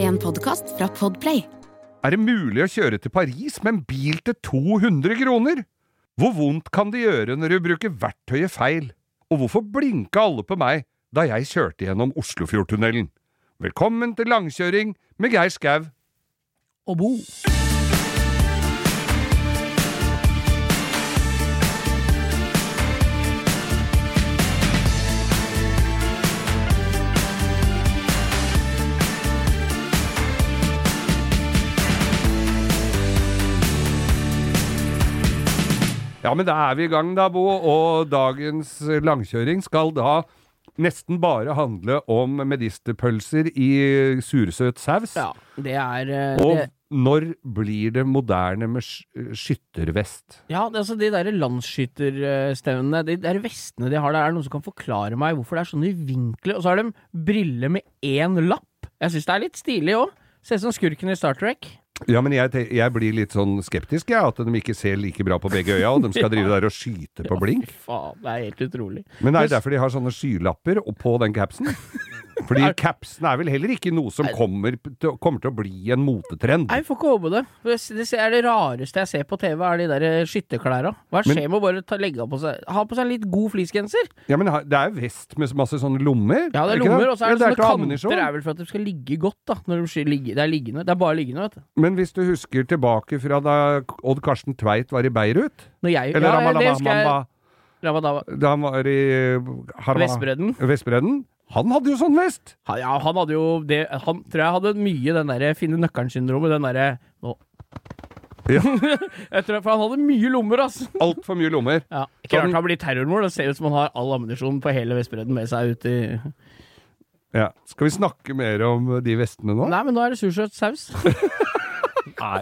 En podkast fra Podplay. Er det mulig å kjøre til Paris med en bil til 200 kroner? Hvor vondt kan det gjøre når du bruker verktøyet feil? Og hvorfor blinka alle på meg da jeg kjørte gjennom Oslofjordtunnelen? Velkommen til langkjøring med Geir Skau. og bo. Ja, men da er vi i gang da, Bo, og dagens langkjøring skal da nesten bare handle om medisterpølser i sursøt saus. Ja, det er eh, Og det, når blir det moderne med sk- skyttervest? Ja, det, er altså de der landsskytterstevnene, de der vestene de har der, er det noen som kan forklare meg hvorfor det er sånne vinkler? Og så har de briller med én lapp! Jeg syns det er litt stilig òg. Ser ut som skurken i Star Trek. Ja, men jeg, te- jeg blir litt sånn skeptisk, jeg, at de ikke ser like bra på begge øya, og de skal drive der og skyte på blink. Fy faen, det er helt utrolig. Men det er derfor de har sånne skylapper og på den capsen. Fordi capsen er vel heller ikke noe som kommer, p- til- kommer til å bli en motetrend. Nei, vi får ikke håpe det. For Det det er det rareste jeg ser på TV, er de der eh, skytterklæra. Hva skjer med å bare ta, legge av på seg Ha på seg en litt god fleecegenser? Ja, men ha- det er vest med så masse sånne lommer. Ja, det er ikke lommer, og så er Ja, til å ha det sånne kanter. ammunisjon. Det er vel for at de skal ligge godt, da. Når de sky- ligge, det er liggende. Det er bare liggende, vet du. Men hvis du husker tilbake fra da Odd Karsten Tveit var i Beirut, Når jeg, eller ja, det husker jeg. Ramalabamamba, Ramadava. da han var i Harva- Vestbredden. Vestbredden, han hadde jo sånn vest! Han, ja, han hadde jo det Han tror jeg hadde mye den derre finne nøkkelen-syndromet. Den derre nå. Ja. jeg tror, for han hadde mye lommer, ass. Altfor mye lommer. Ja. Ikke Sånn. rart han blir terrormord. Det ser ut som han har all ammunisjon på hele Vestbredden med seg ut i Ja. Skal vi snakke mer om de vestene nå? Nei, men nå er det sursøt saus. Nei.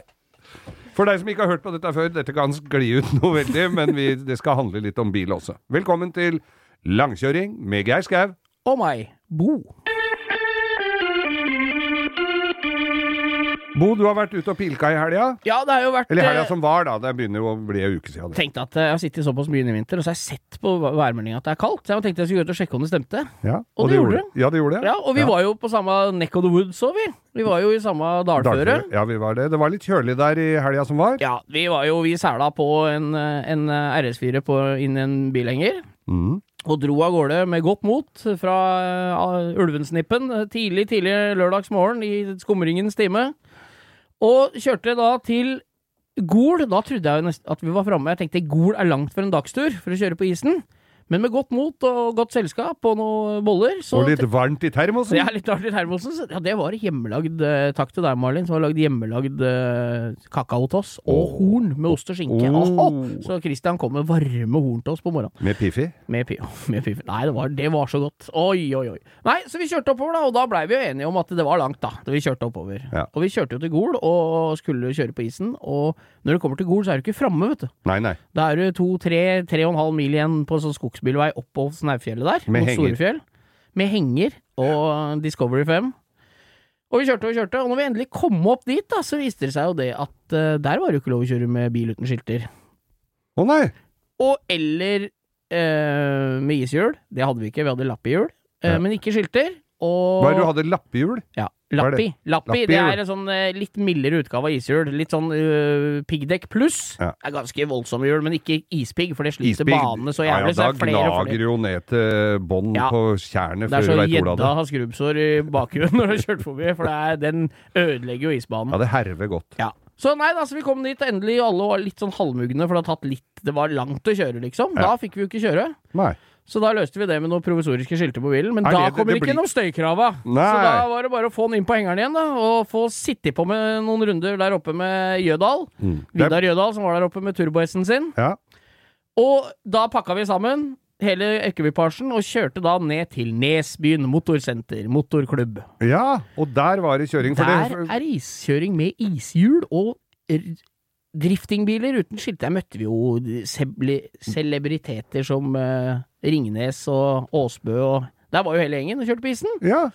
For deg som ikke har hørt på dette før, dette kan skli ut noe veldig, men vi, det skal handle litt om bil også. Velkommen til Langkjøring med Geir Skau. Og meg. Bo. Bo, du har vært ute og pilka i helga. Ja, det har jo vært Eller i helga eh, som var, da. Det begynner jo å bli ei uke siden. Det. Tenkte at eh, Jeg har sittet såpass mye inne i vinter, og så har jeg sett på væ- værmeldinga at det er kaldt. Så jeg tenkte jeg skulle gå ut og sjekke om det stemte. Ja, Og det gjorde Ja, det gjorde det. Ja, Og vi var jo på samme neck of the woods òg, vi. Vi var jo i samme dalføre. Dalføre. Ja, vi var det. Det var litt kjølig der i helga som var. Ja, vi var jo Vi sæla på en, en RS4 på, inn i en bilhenger. Mm. Og dro av gårde med godt mot fra eh, Ulvensnippen eh, tidlig, tidlig lørdagsmorgen i skumringens time. Og kjørte da til Gol. Da trodde jeg jo nesten at vi var framme. Jeg tenkte Gol er langt for en dagstur for å kjøre på isen. Men med godt mot og godt selskap og noen boller, så Og litt varmt i termosen. ja, litt artig termosen. så- Ja, det var hjemmelagd eh, Takk til deg, Marlin, som har lagd hjemmelagd eh, kakao til oss. Og Åh. horn med ost og skinke. Åh. Åhå! Så Christian kom med varme horn til oss på morgenen. Med Piffi. Med, pi- med piffen. Nei, det var, det var så godt. Oi, oi, oi. Nei, så vi kjørte oppover, da. Og da blei vi jo enige om at det var langt, da. da Vi kjørte oppover. Ja. Og vi kjørte jo til Gol, og skulle kjøre på isen. Og når du kommer til Gol, så er du ikke framme, vet du. Nei, nei. Da er du to, tre, tre og en halv mil igjen på en sånn skogsbilvei oppå Snaufjellet der. Med mot henger. Storefjell. Med henger og Discovery 5. Og vi kjørte og kjørte, og når vi endelig kom opp dit, da, så viste det seg jo det at eh, der var det jo ikke lov å kjøre med bil uten skilter. Å nei! Og eller eh, med ishjul. Det hadde vi ikke, vi hadde lappehjul. Eh, Ja. Men ikke skilter. Og Hva er det du hadde? Lappehjul? ja, Hva er det? lappi. Lappi, Lappi, det ja. er en sånn eh, litt mildere utgave av ishjul. Litt sånn eh, piggdekk pluss. Ja. Det er ganske voldsomme hjul, men ikke ispigg, for det sliter Isbygd. banene så Ja, ja, jævlig. da så det er flere og gnager flere. jo ned til bånn Ja. på tjernet Det før er du så veit ordet av gjedda det. har skrubbsår i bakhjulet når du har kjørt forbi, for det er, den ødelegger jo isbanen. Ja, det herver godt. Ja. Så nei, da, så vi kom dit endelig, og alle var litt sånn halvmugne, for det, har tatt litt, det var langt å kjøre, liksom. Da fikk vi jo ikke kjøre. Nei. Så da løste vi det med noen provisoriske skilter på bilen, men Er da det- kommer det blir- ikke gjennom støykrava. Nei. Så da var det bare å få den inn på hengeren igjen, da, og få sitte på med noen runder der oppe med Jødal. Mm. Det- Mm. Vidar Jødal, som var der oppe med turbo-S-en sin. Ja. Og da pakka vi sammen hele Økkebypasjen og kjørte da ned til Nesbyen motorsenter, motorklubb. ja, og der var det kjøring. For Der det, er iskjøring med ishjul og r- driftingbiler uten skilt. Der møtte vi jo sebli- celebriteter som eh, Ringnes og Aasbø og Der var jo hele gjengen og kjørte på isen. ja,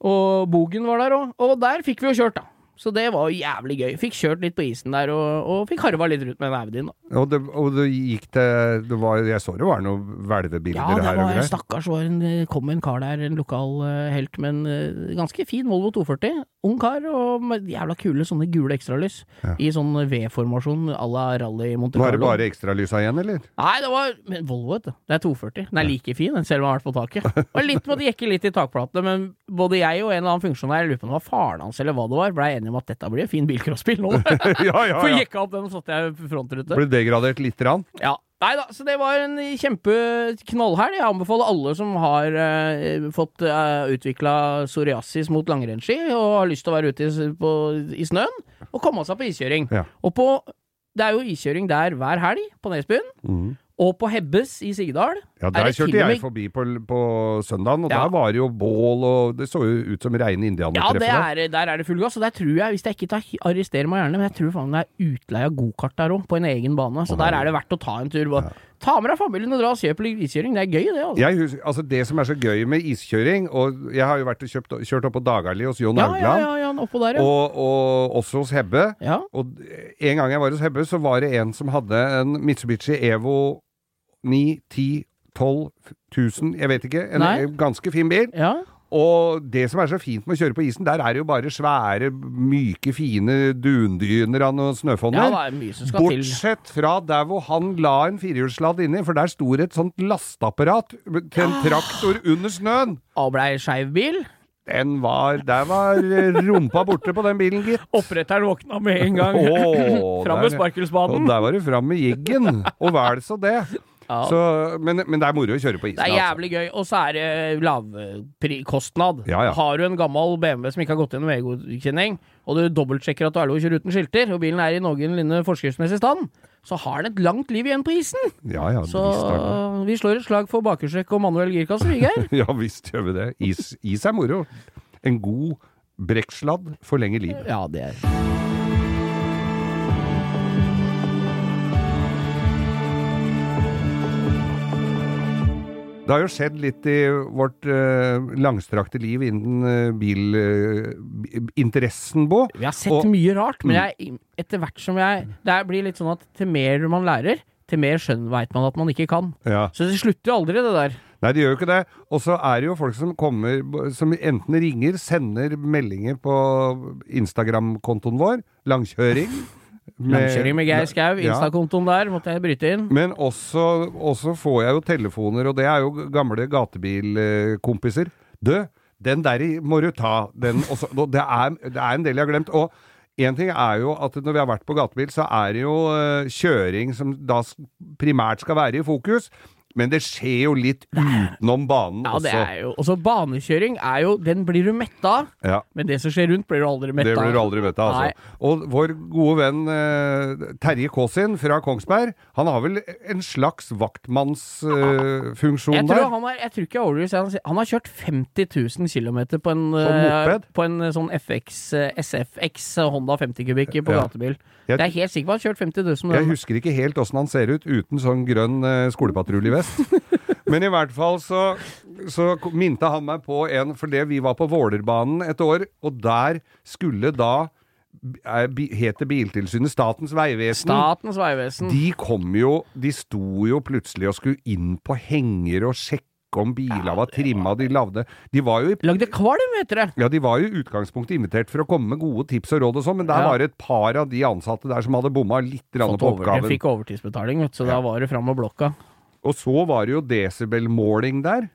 Og Bogen var der òg. Og der fikk vi jo kjørt, da. Så det var jævlig gøy. Fikk kjørt litt på isen der, og, og fikk harva litt rundt med en Audien. da. Og det, og det gikk til det var, Jeg så det var noen Ja, hvelvebilder det her og var greier. stakkars var en, det kom en kar der, en lokal eh, helt med en eh, ganske fin Volvo 240. Ung kar, og med jævla kule sånne gule ekstralys. I sånn V-formasjon à la rally i Monte Var Carlo. det bare ekstralysa igjen, eller? Nei, det var men Volvo, vet du. Det er 240. Den er like fin, den selv om den har vært på taket. Og litt måtte jekke litt i takplatene, men både jeg og en eller annen funksjonær, jeg lurer på om det var faren hans eller hva det var, blei enige om at dette blir en fin bilcrossbil nå. ja, ja, For ja. jekka opp den, og satte jeg frontrute. Ble degradert lite grann. Ja. Nei da, så det var en kjempeknallhelg. Jeg anbefaler alle som har eh, fått uh, utvikla psoriasis mot langrennsski og har lyst til å være ute i, s- på, i snøen, å komme seg på iskjøring. Ja. Og på Det er jo iskjøring der hver helg, på Nesbyen. Mhm. Og på Hebbes i Sigdal. Ja, Mm. Er Der det til kjørte og jeg med- forbi på, på søndagen, og Ja. der var det jo bål, og det så jo ut som reine Ja, det indianertreffere. er, der er det full gass. Og der tror jeg, hvis jeg ikke tar, arresterer meg gjerne, men jeg tror faen det er utleie av gokart der òg, på en egen bane. Så der er det verdt å ta en tur. Bare, Ta med deg familien og dra og se på litt iskjøring. Det er gøy, det. altså. Jeg husker, altså det som er så gøy med iskjøring, og jeg har jo vært og kjøpt, kjørt opp på Dagali hos Jon Ja, ja, Haugland, ja, ja, oppå der, ja. Og, og også hos Hebbe. ja. Og en gang jeg var hos Hebbe, så var det en som hadde en Mitsubishi Evo 9, 10, 12, 1000, jeg vet ikke. En, Nei. ganske fin bil. ja. Og det som er så fint med å kjøre på isen, der er det jo bare svære, myke, fine dundyner av noen Ja, snøfonner. det er mye som skal til. Bortsett fra der hvor han la en firehjulsladd inni, for der sto det et sånt lasteapparat til en traktor under snøen. Og blei skeiv bil. Den var Der var rumpa borte på den bilen, gitt. Oppretteren våkna med en gang. Åh, Fram med der- sparkelspaden. Og der var det fram med jiggen, og vel så det. Ja. Så, men, men det er moro å kjøre på isen. Det er altså. jævlig gøy. Og så er det lavkostnad. Ja, ja. Har du en gammel BMW som ikke har gått gjennom veigodkjenning, og du dobbeltsjekker at du er lov å kjøre uten skilter, og bilen er i noenlunde forskriftsmessig stand, så har den et langt liv igjen på isen! Ja, ja, Så visst er det. vi slår et slag for bakhjulstrekk og manuell girkasse, vi, Geir. Ja visst gjør vi det. Is, is er moro. En god brekksladd forlenger livet. Ja, det er Det har jo skjedd litt i vårt eh, langstrakte liv innen eh, bilinteressen, Bå. Vi har sett Og- Mm. mye rart, men jeg, etter hvert som jeg Det blir litt sånn at til mer man lærer, til mer skjønn veit man at man ikke kan. Ja. Så det slutter jo aldri, det der. Nei, det gjør jo ikke det. Og så er det jo folk som kommer, som enten ringer, sender meldinger på Instagram-kontoen vår, langkjøring. med- Langkjøring med Geir Skau, Ja. Insta-kontoen der, måtte jeg bryte inn. Men også, også får jeg jo telefoner, og det er jo gamle gatebilkompiser. Du, den der i- må du ta. Den også, og det, er, det er en del jeg har glemt. Og én ting er jo at når vi har vært på gatebil, så er det jo eh, kjøring som da s- primært skal være i fokus. Men det skjer jo litt utenom banen Ja, også. det er jo Også banekjøring er jo Den blir du mett av, Ja. men det som skjer rundt, blir du aldri mett Det av. blir du aldri møtt av, altså. Og vår gode venn eh, Terje Kaasin fra Kongsberg, han har vel en slags vaktmannsfunksjon Jeg tror, der? han er, jeg tror ikke jeg overdriver. hvis jeg sier- Han har kjørt 50 000 km på en, eh, moped? på en eh, sånn FX, eh, SFX eh, Honda 50 kubikk på Ja. gatebil. Jeg- Jeg er helt sikker på at han har kjørt 50 000. med Jeg den. husker ikke helt åssen han ser ut uten sånn grønn eh, skolepatruljevest. Men i hvert fall så, så minte han meg på en For det vi var på Vålerbanen et år, og der skulle da eh, bi- Het det Biltilsynet? Statens vegvesen? Statens vegvesen. De kom jo De sto jo plutselig og skulle inn på henger og sjekke om biler var trimma, de lagde De var jo i Lagde kvalm, heter det! ja, de var jo i utgangspunktet invitert for å komme med gode tips og råd og sånn, men der Ja. var det et par av de ansatte der som hadde bomma litt grann Fått på over, jeg oppgaven. fikk overtidsbetaling, vet, du, så da var det fram med blokka. Og så var det jo desibelmåling der.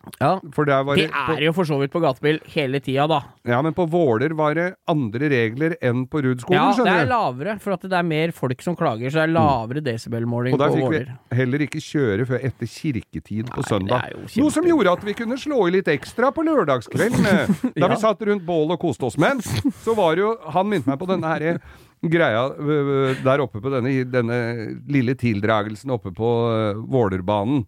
For der var Det det, er jo for så vidt på gatebil hele tida, da. på, Ja, men på Våler var det andre regler enn på Rudskolen, Ja, det skjønner du. er Mm. lavere, for at det er mer folk som klager, så det er lavere desibelmåling Og på der fikk vi Våler. heller ikke kjøre før etter kirketid på det søndag. er jo kjempe- Noe som gjorde at vi kunne slå i litt ekstra på lørdagskvelden. eh, Da Ja. vi satt rundt bål og koste oss. Men så var det jo Han minte meg på denne her greia øh, øh, der oppe på denne, denne lille tildragelsen oppe på øh, Vålerbanen.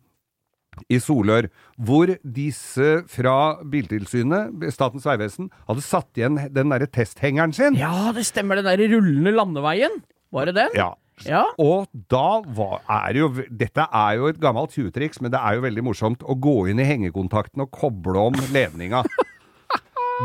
i Solør, hvor disse fra Biltilsynet, Statens vegvesen, hadde satt igjen den derre testhengeren sin. Ja, det stemmer, den der rullende landeveien. Var det den? Ja. Ja. Og da var, er jo Dette er jo et gammelt tjuvtriks, men det er jo veldig morsomt å gå inn i hengekontakten og koble om ledninga.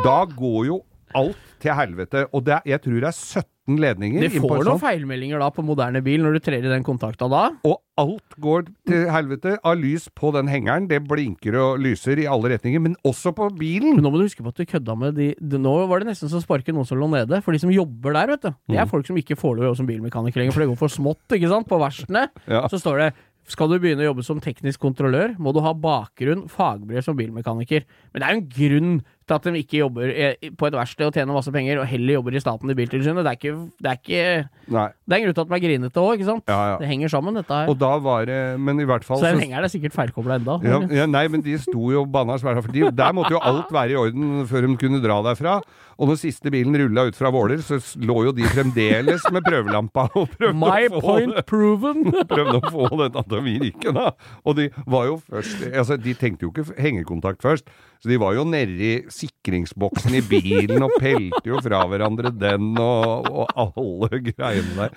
Da går jo alt til helvete. Og det er, jeg tror det er 17 ledninger. Det inn på får en noen sånn, feilmeldinger da på moderne bil når du trer i den kontakta da. og alt går til helvete av lys på den hengeren. Det blinker og lyser i alle retninger, men også på bilen. Men nå må du huske på at du kødda med de, de Nå var det nesten så sparket noen som lå nede. For de som jobber der, vet du. Det Mm. er folk som ikke får lov å jobbe som bilmekaniker lenger, for det går for smått, ikke sant? På verkstedene. Ja. Så står det skal du begynne å jobbe som teknisk kontrollør, må du ha bakgrunn, fagbrev som bilmekaniker. Men det er jo en grunn til at de ikke jobber eh, på et verksted og tjener masse penger, og heller jobber i staten i Biltilsynet. Det er ikke Det er, ikke, Nei. det er en grunn til at de er grinete òg, ikke sant? Ja, ja. Det henger sammen, dette her. Og da var det Men i hvert fall Så den så- hengeren er sikkert feilkobla enda. Ja, ja, nei, men de sto jo og banna svært, for de, der måtte jo alt være i orden før de kunne dra derfra. Og når siste bilen rulla ut fra Våler, så s- lå jo de fremdeles med prøvelampa og prøvde, My å, få, point proven! det- prøvde å få den at de virket, da. Og de var jo først Altså, de tenkte jo ikke f- hengekontakt først, så de var jo nedi sikringsboksen i bilen og pelte jo fra hverandre den og, og alle greiene der.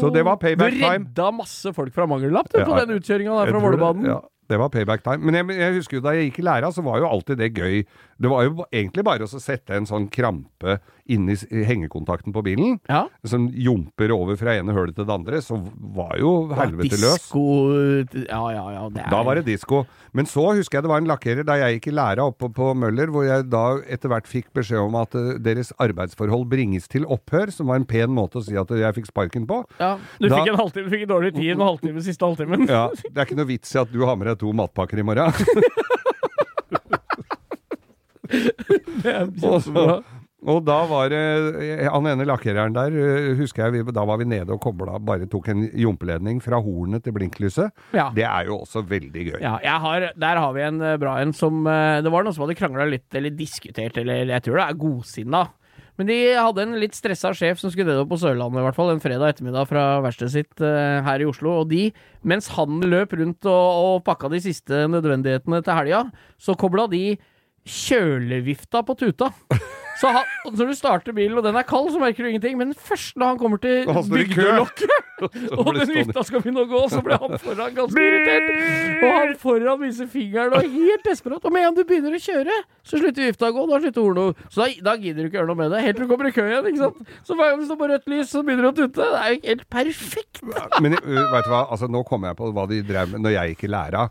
Så det var Du payback time. redda masse folk fra mangellapp du, på Ja. den utkjøringa der Jeg fra tror det. Vålerbanen. Ja, det var payback time. Men jeg, jeg husker jo da jeg gikk i læra, så var jo alltid det gøy. Det var jo egentlig bare å så sette en sånn krampe inni s- hengekontakten på bilen, Ja. som jumper over fra ene hølet til det andre, så var jo helvete løs. Disko Ja, ja, ja. Det er, Da var det disko. Men så husker jeg det var en lakkerer da jeg gikk i læra oppe på Møller, hvor jeg da etter hvert fikk beskjed om at eh, deres arbeidsforhold bringes til opphør, som var en pen måte å si at jeg fikk sparken på. ja. Du, Da- fikk en halvtime, du fikk en dårlig tid en halvtime siste halvtimen. Ja, Det er ikke noe vits i at du har med deg to matpakker i morgen. Det er Og kjempebra. så- Og da var det eh, Han ene lakkereren der, eh, husker jeg vi, da var vi nede og kobla, bare tok en jumpeledning fra hornet til blinklyset. Ja. Det er jo også veldig gøy. Ja, jeg har, der har vi en eh, bra en som eh, Det var noen som hadde krangla litt, eller diskutert, eller jeg tror det er godsinna. Men de hadde en litt stressa sjef som skulle nedover på Sørlandet, i hvert fall en fredag ettermiddag fra verkstedet sitt eh, her i Oslo. Og de, mens han løp rundt og, og pakka de siste nødvendighetene til helga, så kobla de kjølevifta på tuta. Så han, og når du starter bilen, og den er kald, så merker du ingenting. Men først når han kommer til Og han står i kø. bygdelokket, og blir den det stående. vifta skal begynne å gå, så blir han foran ganske irritert. Og han foran viser fingeren og er helt desperat. Og med en gang du begynner å kjøre, så slutter vifta å gå. Da slutter hornet å Så da, da gidder du ikke gjøre noe med det. Helt til du kommer i kø igjen, ikke sant. Så hver gang du står på rødt lys, så begynner du å tute. Det er jo helt perfekt. Men eh, vet du hva, altså, nå kom jeg på hva de drev med når jeg gikk i læra.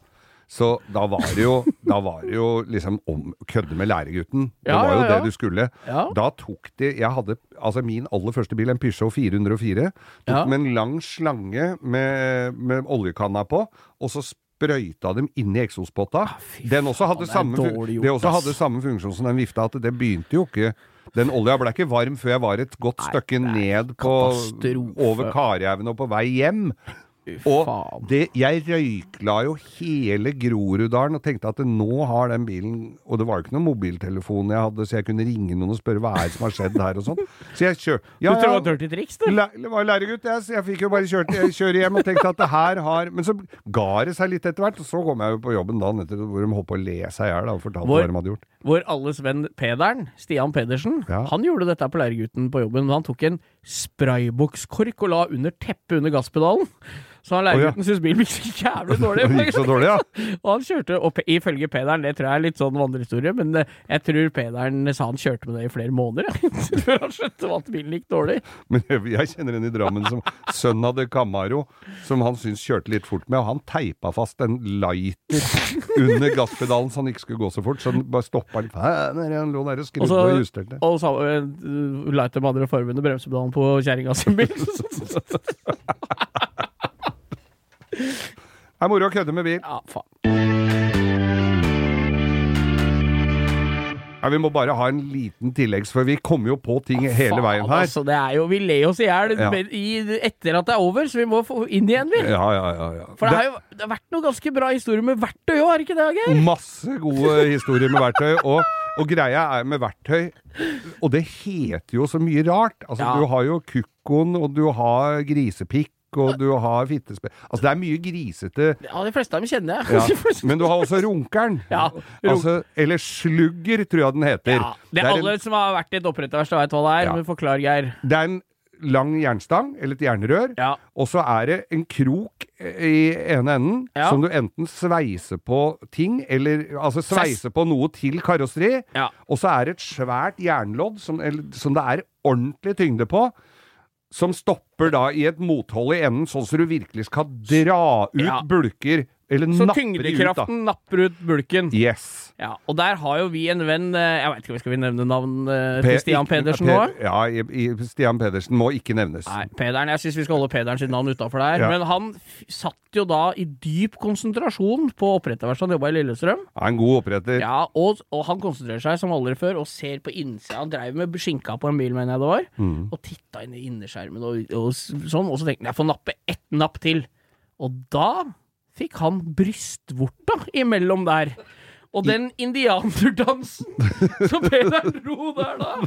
Så da var det jo, da var det jo liksom om, kødde med læregutten. Det Ja, var jo ja, ja. det du skulle. Ja. Da tok de Jeg hadde altså min aller første bil, en Peugeot 404. Tok Ja. med en lang slange med, med oljekanna på, og så sprøyta dem inn i eksospotta. Ah, fy den også faen, hadde, det er samme, fun- dårlig gjort, det også ass. hadde samme funksjon som den vifta, at det begynte jo ikke Den olja ble ikke varm før jeg var et godt stykke ned på katastrofe. over Karjaugen og på vei hjem. faen. Og det, jeg røykla jo hele Groruddalen og tenkte at nå har den bilen Og det var jo ikke noen mobiltelefon jeg hadde, så jeg kunne ringe noen og spørre hva er det som har skjedd her og sånn. Så jeg kjør... Du Ja, tror det var et ja, dirty triks, du? læ- det var jo læregutt, jeg, så jeg fikk jo bare kjørt, eh, kjøre hjem og tenkte at det her har Men så ga det seg litt etter hvert, og så kom jeg jo på jobben dagen etter hvor de holdt på å le seg i hjel da, og fortalte Hvor- hva de hadde gjort. Vår alles venn Pederen, Stian Pedersen, Ja. han gjorde dette på Leirgutten på jobben. Men han tok en spraybokskork og la under teppet under gasspedalen. Så han leirgutten syntes bilen gikk så jævlig dårlig. Det gikk så dårlig, ja. og han kjørte, og pe- ifølge Pederen, det tror jeg er litt sånn vandrehistorie, men eh, jeg tror Pederen sa han kjørte med det i flere måneder, jeg, før han skjønte at bilen gikk dårlig. Men jeg, jeg kjenner en i Drammen som sønnen hadde Camaro, som han syntes kjørte litt fort med, og han teipa fast en lighter under gasspedalen så han ikke skulle gå så fort, så han bare stoppa litt. Hæ, der, Han lå der og Og skrudde så og justerte. og sa, uh, la etter med andre formen og bremsepedalen på kjerringa sin bil. Det er moro å kødde med bil. ja, faen. Ja, vi må bare ha en liten tilleggs, for vi kommer jo på ting hele Faen, veien her. Altså, det er jo, vi ler oss i hjel Ja. i- etter at det er over, så vi må få inn igjen, vi. Ja, ja, ja. ja. For det Det har jo det har vært noen ganske bra historier med verktøy òg, har ikke det, Geir? er masse gode historier med verktøy, og, og greia er med verktøy Og det heter jo så mye rart. Altså, Ja. Du har jo kukkoen, og du har grisepikk, og du har fittespe... Altså, det er mye grisete Ja, de fleste av dem kjenner jeg. Ja. Men du har også runkeren. Ja, altså, eller slugger, tror jeg den heter. Ja, det er alle en, som har vært i et oppretterverksted, veit hva det er. Ja. Men forklar, Geir. det er en lang jernstang, eller et jernrør, Ja. og så er det en krok i ene enden Ja. som du enten sveiser på ting, eller altså sveiser på noe til karosseri, Ja. og så er det et svært jernlodd som, eller, som det er ordentlig tyngde på, som stopper da i et mothold i enden, sånn så du virkelig skal dra ut Ja. bulker, eller napper de ut, Så da. tyngdekraften napper ut bulken. Yes. Ja, og der har jo vi en venn eh, Jeg vet ikke om vi skal vi nevne navn eh, til Stian Per- Pedersen nå? Per- Ja, i, i, Stian Pedersen må ikke nevnes. Nei, Pederen, jeg syns vi skal holde Pederen sitt navn utafor der. Ja. Men han f satt jo da i dyp konsentrasjon på oppretterverkstedet han jobba i Lillestrøm. Han er en god oppretter. Ja, og, og han konsentrerer seg som aldri før og ser på innsida. Han dreiv med skinka på en bil, mener jeg det var, Mm. og titta inn i innerskjermen og, og s- sånn, og så tenkte han jeg får nappe ett napp til. Og da fikk han brystvorta imellom der. Og den indianerdansen som Peder dro der da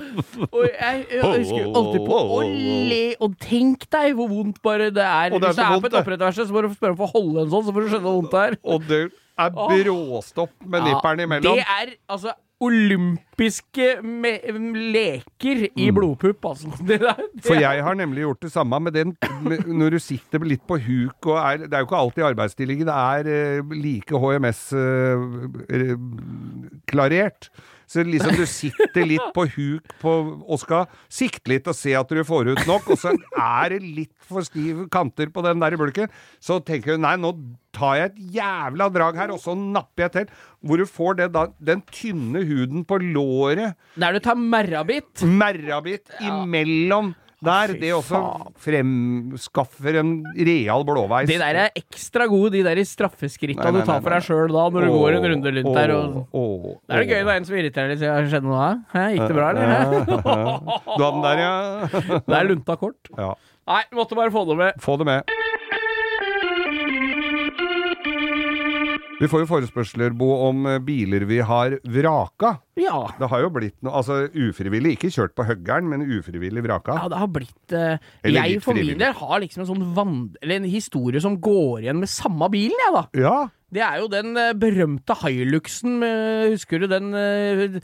Og jeg, jeg husker jo alltid på å le Og tenk deg hvor vondt bare det er. Og det er Hvis det så er vondt, på et det. opprettverksted, så må du spørre om å få holde en sånn, så får du skjønne hvor vondt det er. Og det er bråstopp med Ja, nipperen imellom. Det er altså olympiske me leker i blodpupp, altså. Det der, det Mm. For er- jeg har nemlig gjort det samme med den med, når du sitter litt på huk og er Det er jo ikke alltid arbeidsstillingen er eh, like HMS-klarert. eh, så liksom du sitter litt på huk på, og skal sikte litt og se at du får ut nok, og så er det litt for stive kanter på den der bulken, så tenker du nei, nå tar jeg et jævla drag her, og så napper jeg til. Hvor du får det da, den tynne huden på låret Der du tar merrabit. merrabit imellom der. Fy Det også fremskaffer en real blåveis. De der er ekstra gode, de der i straffeskritta Nei, nei, du tar nei, for nei. deg sjøl da, når du går en runde rundt der og Da er det gøy når en som irriterer deg, sier «Har det skjedd noe da? Hæ, gikk det bra, eller? Du hadde den der, ja. Det er lunta kort. ja. Nei, måtte bare få det med. Få det med. Vi får jo forespørsler, Bo, om eh, biler vi har vraka. Ja. Det har jo blitt noe Altså ufrivillig, ikke kjørt på høggeren, men ufrivillig vraka. Ja, det har blitt eh, Eller Jeg litt for min frivillig. del har liksom en sånn vand... Eller en historie som går igjen med samme bilen, jeg, da. Ja. Det er jo den eh, berømte Hiluxen, eh, husker du den eh,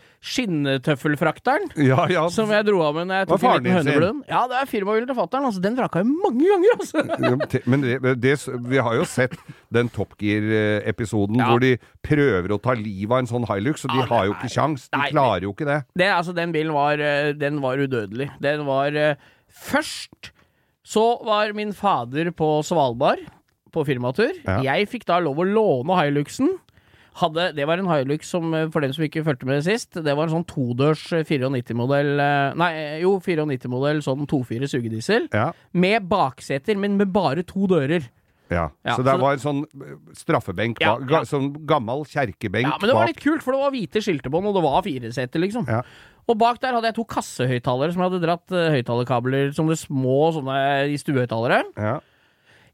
skinnetøffelfrakteren? Ja, ja. Som jeg dro av med når jeg Var tok en faren liten din sin? høneblund. Ja, det er firmabilen til fatter'n. Altså, den vraka jeg mange ganger, altså! Ja, men te- Men det, det, vi har jo sett den Top Gear-episoden Ja. hvor de prøver å ta livet av en sånn Hilux, og de Ja, har jo nei, ikke kjangs. De nei. klarer jo ikke det. Det, altså, den bilen var, eh, den var udødelig. Den var eh, Først så var min fader på Svalbard på firmatur. Ja. Jeg fikk da lov å låne Hiluxen. Hadde, det var en Hilux som, eh, for dem som ikke fulgte med sist, det var en sånn todørs 94-modell eh, Nei, jo, 94-modell sånn 2.4 sugediesel. Ja. Med bakseter, men med bare to dører. Ja. Ja, så det så- var en sånn eh, straffebenk Ja, bak. ja. ga- Sånn gammel kjerkebenk Ja, men det var bak. litt kult, for det var hvite skiltebånd, og det var fire seter, liksom. Ja. Og bak der hadde jeg to kassehøyttalere som jeg hadde dratt eh, høyttalerkabler som det små sånne eh, i stuehøyttalere. Ja.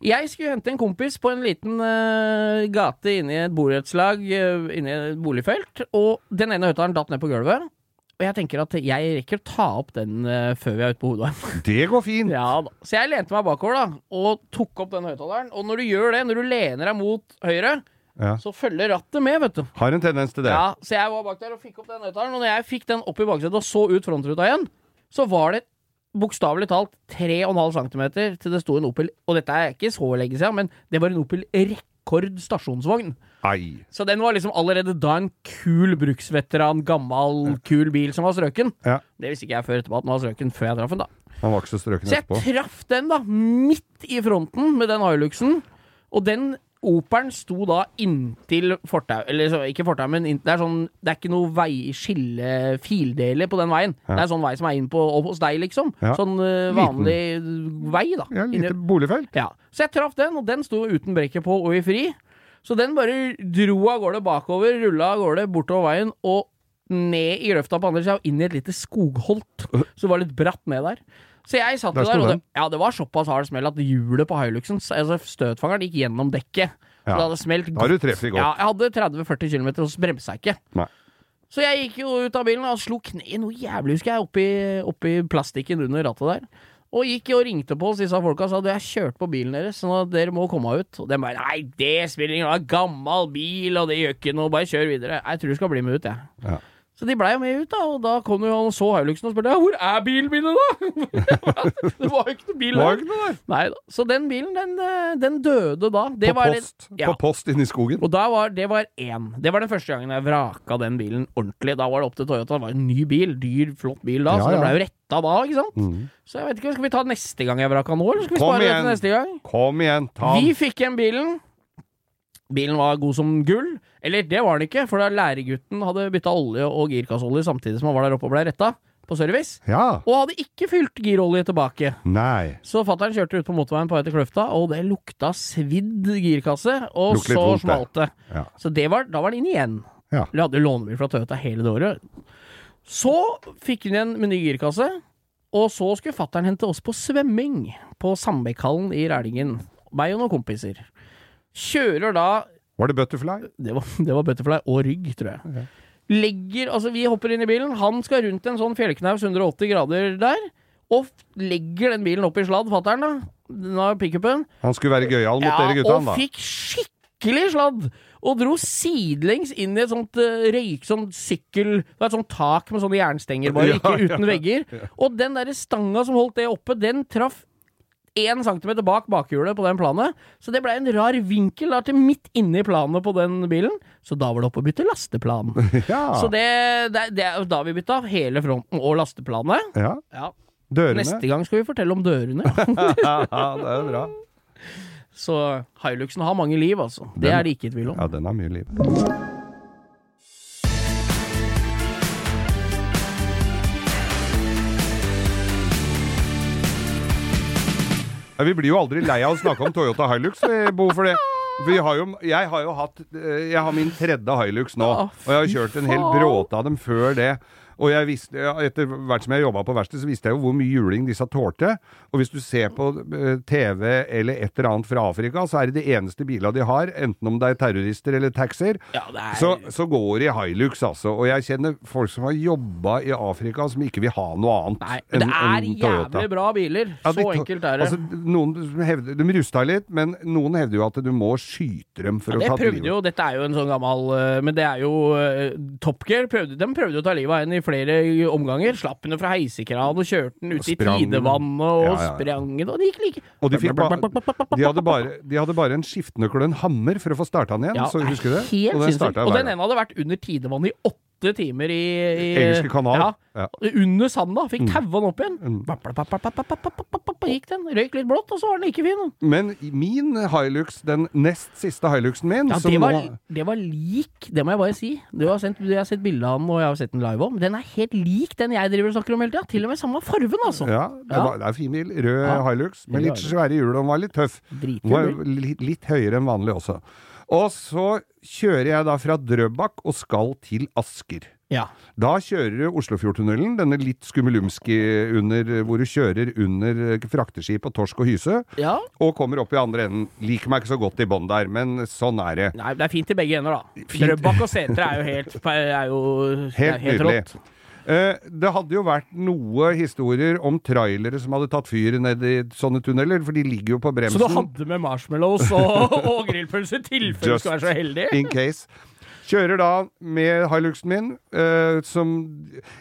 Jeg skulle hente en kompis på en liten eh, gate inne i et borettslag, uh, inne i et boligfelt, og den ene høyttaleren datt ned på gulvet. Og jeg tenker at jeg rekker å ta opp den eh, før vi er ute på hodet. Det går fint! Ja da. Så jeg lente meg bakover da, og tok opp den høyttaleren. Og når du gjør det, når du lener deg mot høyre, Ja. så følger rattet med, vet du. Har en tendens til det. Ja, så jeg var bak der og fikk opp den nøytalen, og når jeg fikk den opp i baksetet og så ut frontruta igjen, så var det bokstavelig talt 3,5 cm til det sto en Opel, og dette er ikke så lenge siden, men det var en Opel rekord stasjonsvogn. Ai. Så den var liksom allerede da en kul bruksveteran, gammel, kul bil som var strøken. Ja. Det visste ikke jeg før etterpå at den var strøken, før jeg traff den, da. Han var ikke så strøken Så jeg etterpå. traff den da, midt i fronten med den Hiluxen. Og den Operen sto da inntil fortau, eller så, ikke fortau, men inn, det er sånn Det er ikke noe veiskille fildeler på den veien. Det er en sånn vei som er inn på opp hos deg, liksom. Ja. Sånn eh, Liten. vanlig vei, da. Ja, lite Inni- boligfelt. ja. Så jeg traff den, og den sto uten brekket på og i fri. Så den bare dro av gårde bakover, rulla av gårde bortover veien og ned i grøfta på andre sida og inn i et lite skogholt. Så det var litt bratt ned der. Så jeg satt Der jo der, sto og det, ja, det var såpass hard smell at hjulet på Hiluxen, altså støtfangeren, gikk gjennom dekket. Så Ja. det hadde smelt Da har du treffet Ja, godt. jeg hadde 30-40 km, og så bremsa jeg ikke. Nei. Så jeg gikk jo ut av bilen og slo kneet noe jævlig, husker jeg, oppi, oppi plastikken under rattet der. Og gikk og ringte på oss, disse folka, og sa du, jeg kjørte på bilen deres, sånn at dere må komme ut. Og de bare nei, det spiller ingen rolle, det er gammel bil, og det gjør ikke noe, bare kjør videre. Jeg tror du skal bli med ut, jeg. Ja. Så de blei jo med ut, da. Og da kom jo han og så Hiluxen og spurte ja, hvor er bilene mine, da? det var jo ikke noe bil Var der. ikke noe der. Nei da. Så den bilen, den, eh, den døde da. På Det var litt- post. ja. På post inne i skogen. Og da var, det var én. Det var den første gangen jeg vraka den bilen ordentlig. Da var det opp til Toyota. Det var en ny bil. Dyr, flott bil da, Ja, så det ja. blei jo retta da, ikke sant? Mhm. Så jeg vet ikke, skal vi ta neste gang jeg vraka nå, eller skal vi Kom spare det til igjen. neste gang? Kom igjen, ta Vi den. fikk igjen bilen. Bilen var god som gull. Eller, det var den ikke, for da læregutten hadde bytta olje og girkassolje samtidig som han var der oppe og blei retta på service, Ja. og hadde ikke fylt girolje tilbake. Nei. Så fatter'n kjørte ut på motorveien på vei til Kløfta, og det lukta svidd girkasse, og Lukter litt så vondt, det. smalt det. Ja. Så det var, da var den inn igjen. Ja. Vi hadde jo lånebil fra Toyota hele det året. Så fikk hun igjen med ny girkasse, og så skulle fatter'n hente oss på svømming på Sandbekkhallen i Rælingen. Meg og noen kompiser. Kjører da Var det butterfly? Det var, det var butterfly og rygg, tror jeg. Legger Altså, vi hopper inn i bilen. Han skal rundt en sånn fjellknaus 180 grader der, og f- legger den bilen opp i sladd, fatter'n, da. Den har pickupen. Han skulle være gøyal mot dere gutta, han Og da. fikk skikkelig sladd! Og dro sidelengs inn i et sånt uh, røyk, sånn sykkel Det var et sånt tak med sånne jernstenger, bare, Ja, ikke ja. uten vegger. Og den derre stanga som holdt det oppe, den traff én centimeter bak bakhjulet på den planet. Så det blei en rar vinkel da, til midt inne i planet på den bilen. Så da var det oppe å bytte lasteplan. Ja. Så det, det, det er jo da vi bytta hele fronten og lasteplanet. ja. Ja. Dørene. Neste gang skal vi fortelle om dørene. ja, det er bra. Så Hiluxen har mange liv, altså. Det Den- er det ikke i tvil om. Ja, den har mye liv. Ja, vi blir jo aldri lei av å snakke om Toyota Hilux, vi, Bo, for det. Vi har jo, jeg har jo hatt eh, Jeg har min tredje Hilux nå, Å, og jeg har fy kjørt en hel faen. bråte av dem før det. Og jeg visste, ja, etter hvert som jeg jobba på verksted, så visste jeg jo hvor mye juling disse tålte. Og hvis du ser på eh, TV eller et eller annet fra Afrika, så er det de eneste bila de har, enten om det er terrorister eller taxier. Ja, det er Så, så går det i Hilux, altså. Og jeg kjenner folk som har jobba i Afrika, som ikke vil ha noe annet Nei, men enn det er enn Toyota. jævlig bra biler. Ja, de Så to- enkelt er det. Altså, noen som hevder, de rusta litt, men noen hevder jo at du må skyte dem for Ja, det å ta prøvde jo, dette er jo en sånn gammel eh, Men det er jo eh, Top Gear prøvde, De prøvde jo å ta livet av en i flere omganger. Slapp henne fra heisekran og kjørte den ut i sprang den. tidevannet og Ja, ja, ja. sprang den, og det gikk like Og de, fikk ba, de, hadde bare, de hadde bare en skiftenøkkel og en hammer for å få starta den igjen, Ja, så det er husker du det? Helt og den sinnssykt. starta Og hver den gang. ene hadde vært under tidevannet i åtte timer i, i Engelske kanal. Ja, Ja. under sanda. Fikk taua den opp igjen. Mm. Bap, bap, bap, bap, bap, bap, bap, bap, Gikk den. Røyk litt blått, og så var den like fin. Men i min Hilux, den nest siste Hiluxen min Ja, som det var, nå- det var lik, det må jeg bare si. Du har, sendt, du har sett bilde av den, og jeg har sett den live òg. Den er helt lik den jeg driver og snakker om hele tida. Til og med samme fargen, altså. ja, det, Ja. Var, det er fin bil. Rød Ja. Hilux, med Rød litt svære hjul, og den var litt tøff. Den Dritkul. var bil. litt, litt høyere enn vanlig også. Og så kjører jeg da fra Drøbak og skal til Asker. Ja. Da kjører du Oslofjordtunnelen, denne litt skummelumske under, hvor du kjører under eh, frakteskip og torsk og hyse, ja. og kommer opp i andre enden. Liker meg ikke så godt i bånn der, men sånn er det. Nei, det er fint i begge ender, da. Fint. Drøbak og Setre er jo helt er jo, det er Helt nydelig. rått. Eh, Det hadde jo vært noe historier om trailere som hadde tatt fyr nedi sånne tunneler, for de ligger jo på bremsen. Så du hadde med marshmallows og, og grillpølse i tilfelle du Just skal være så heldig? In case. Kjører da med Hiluxen min, eh, som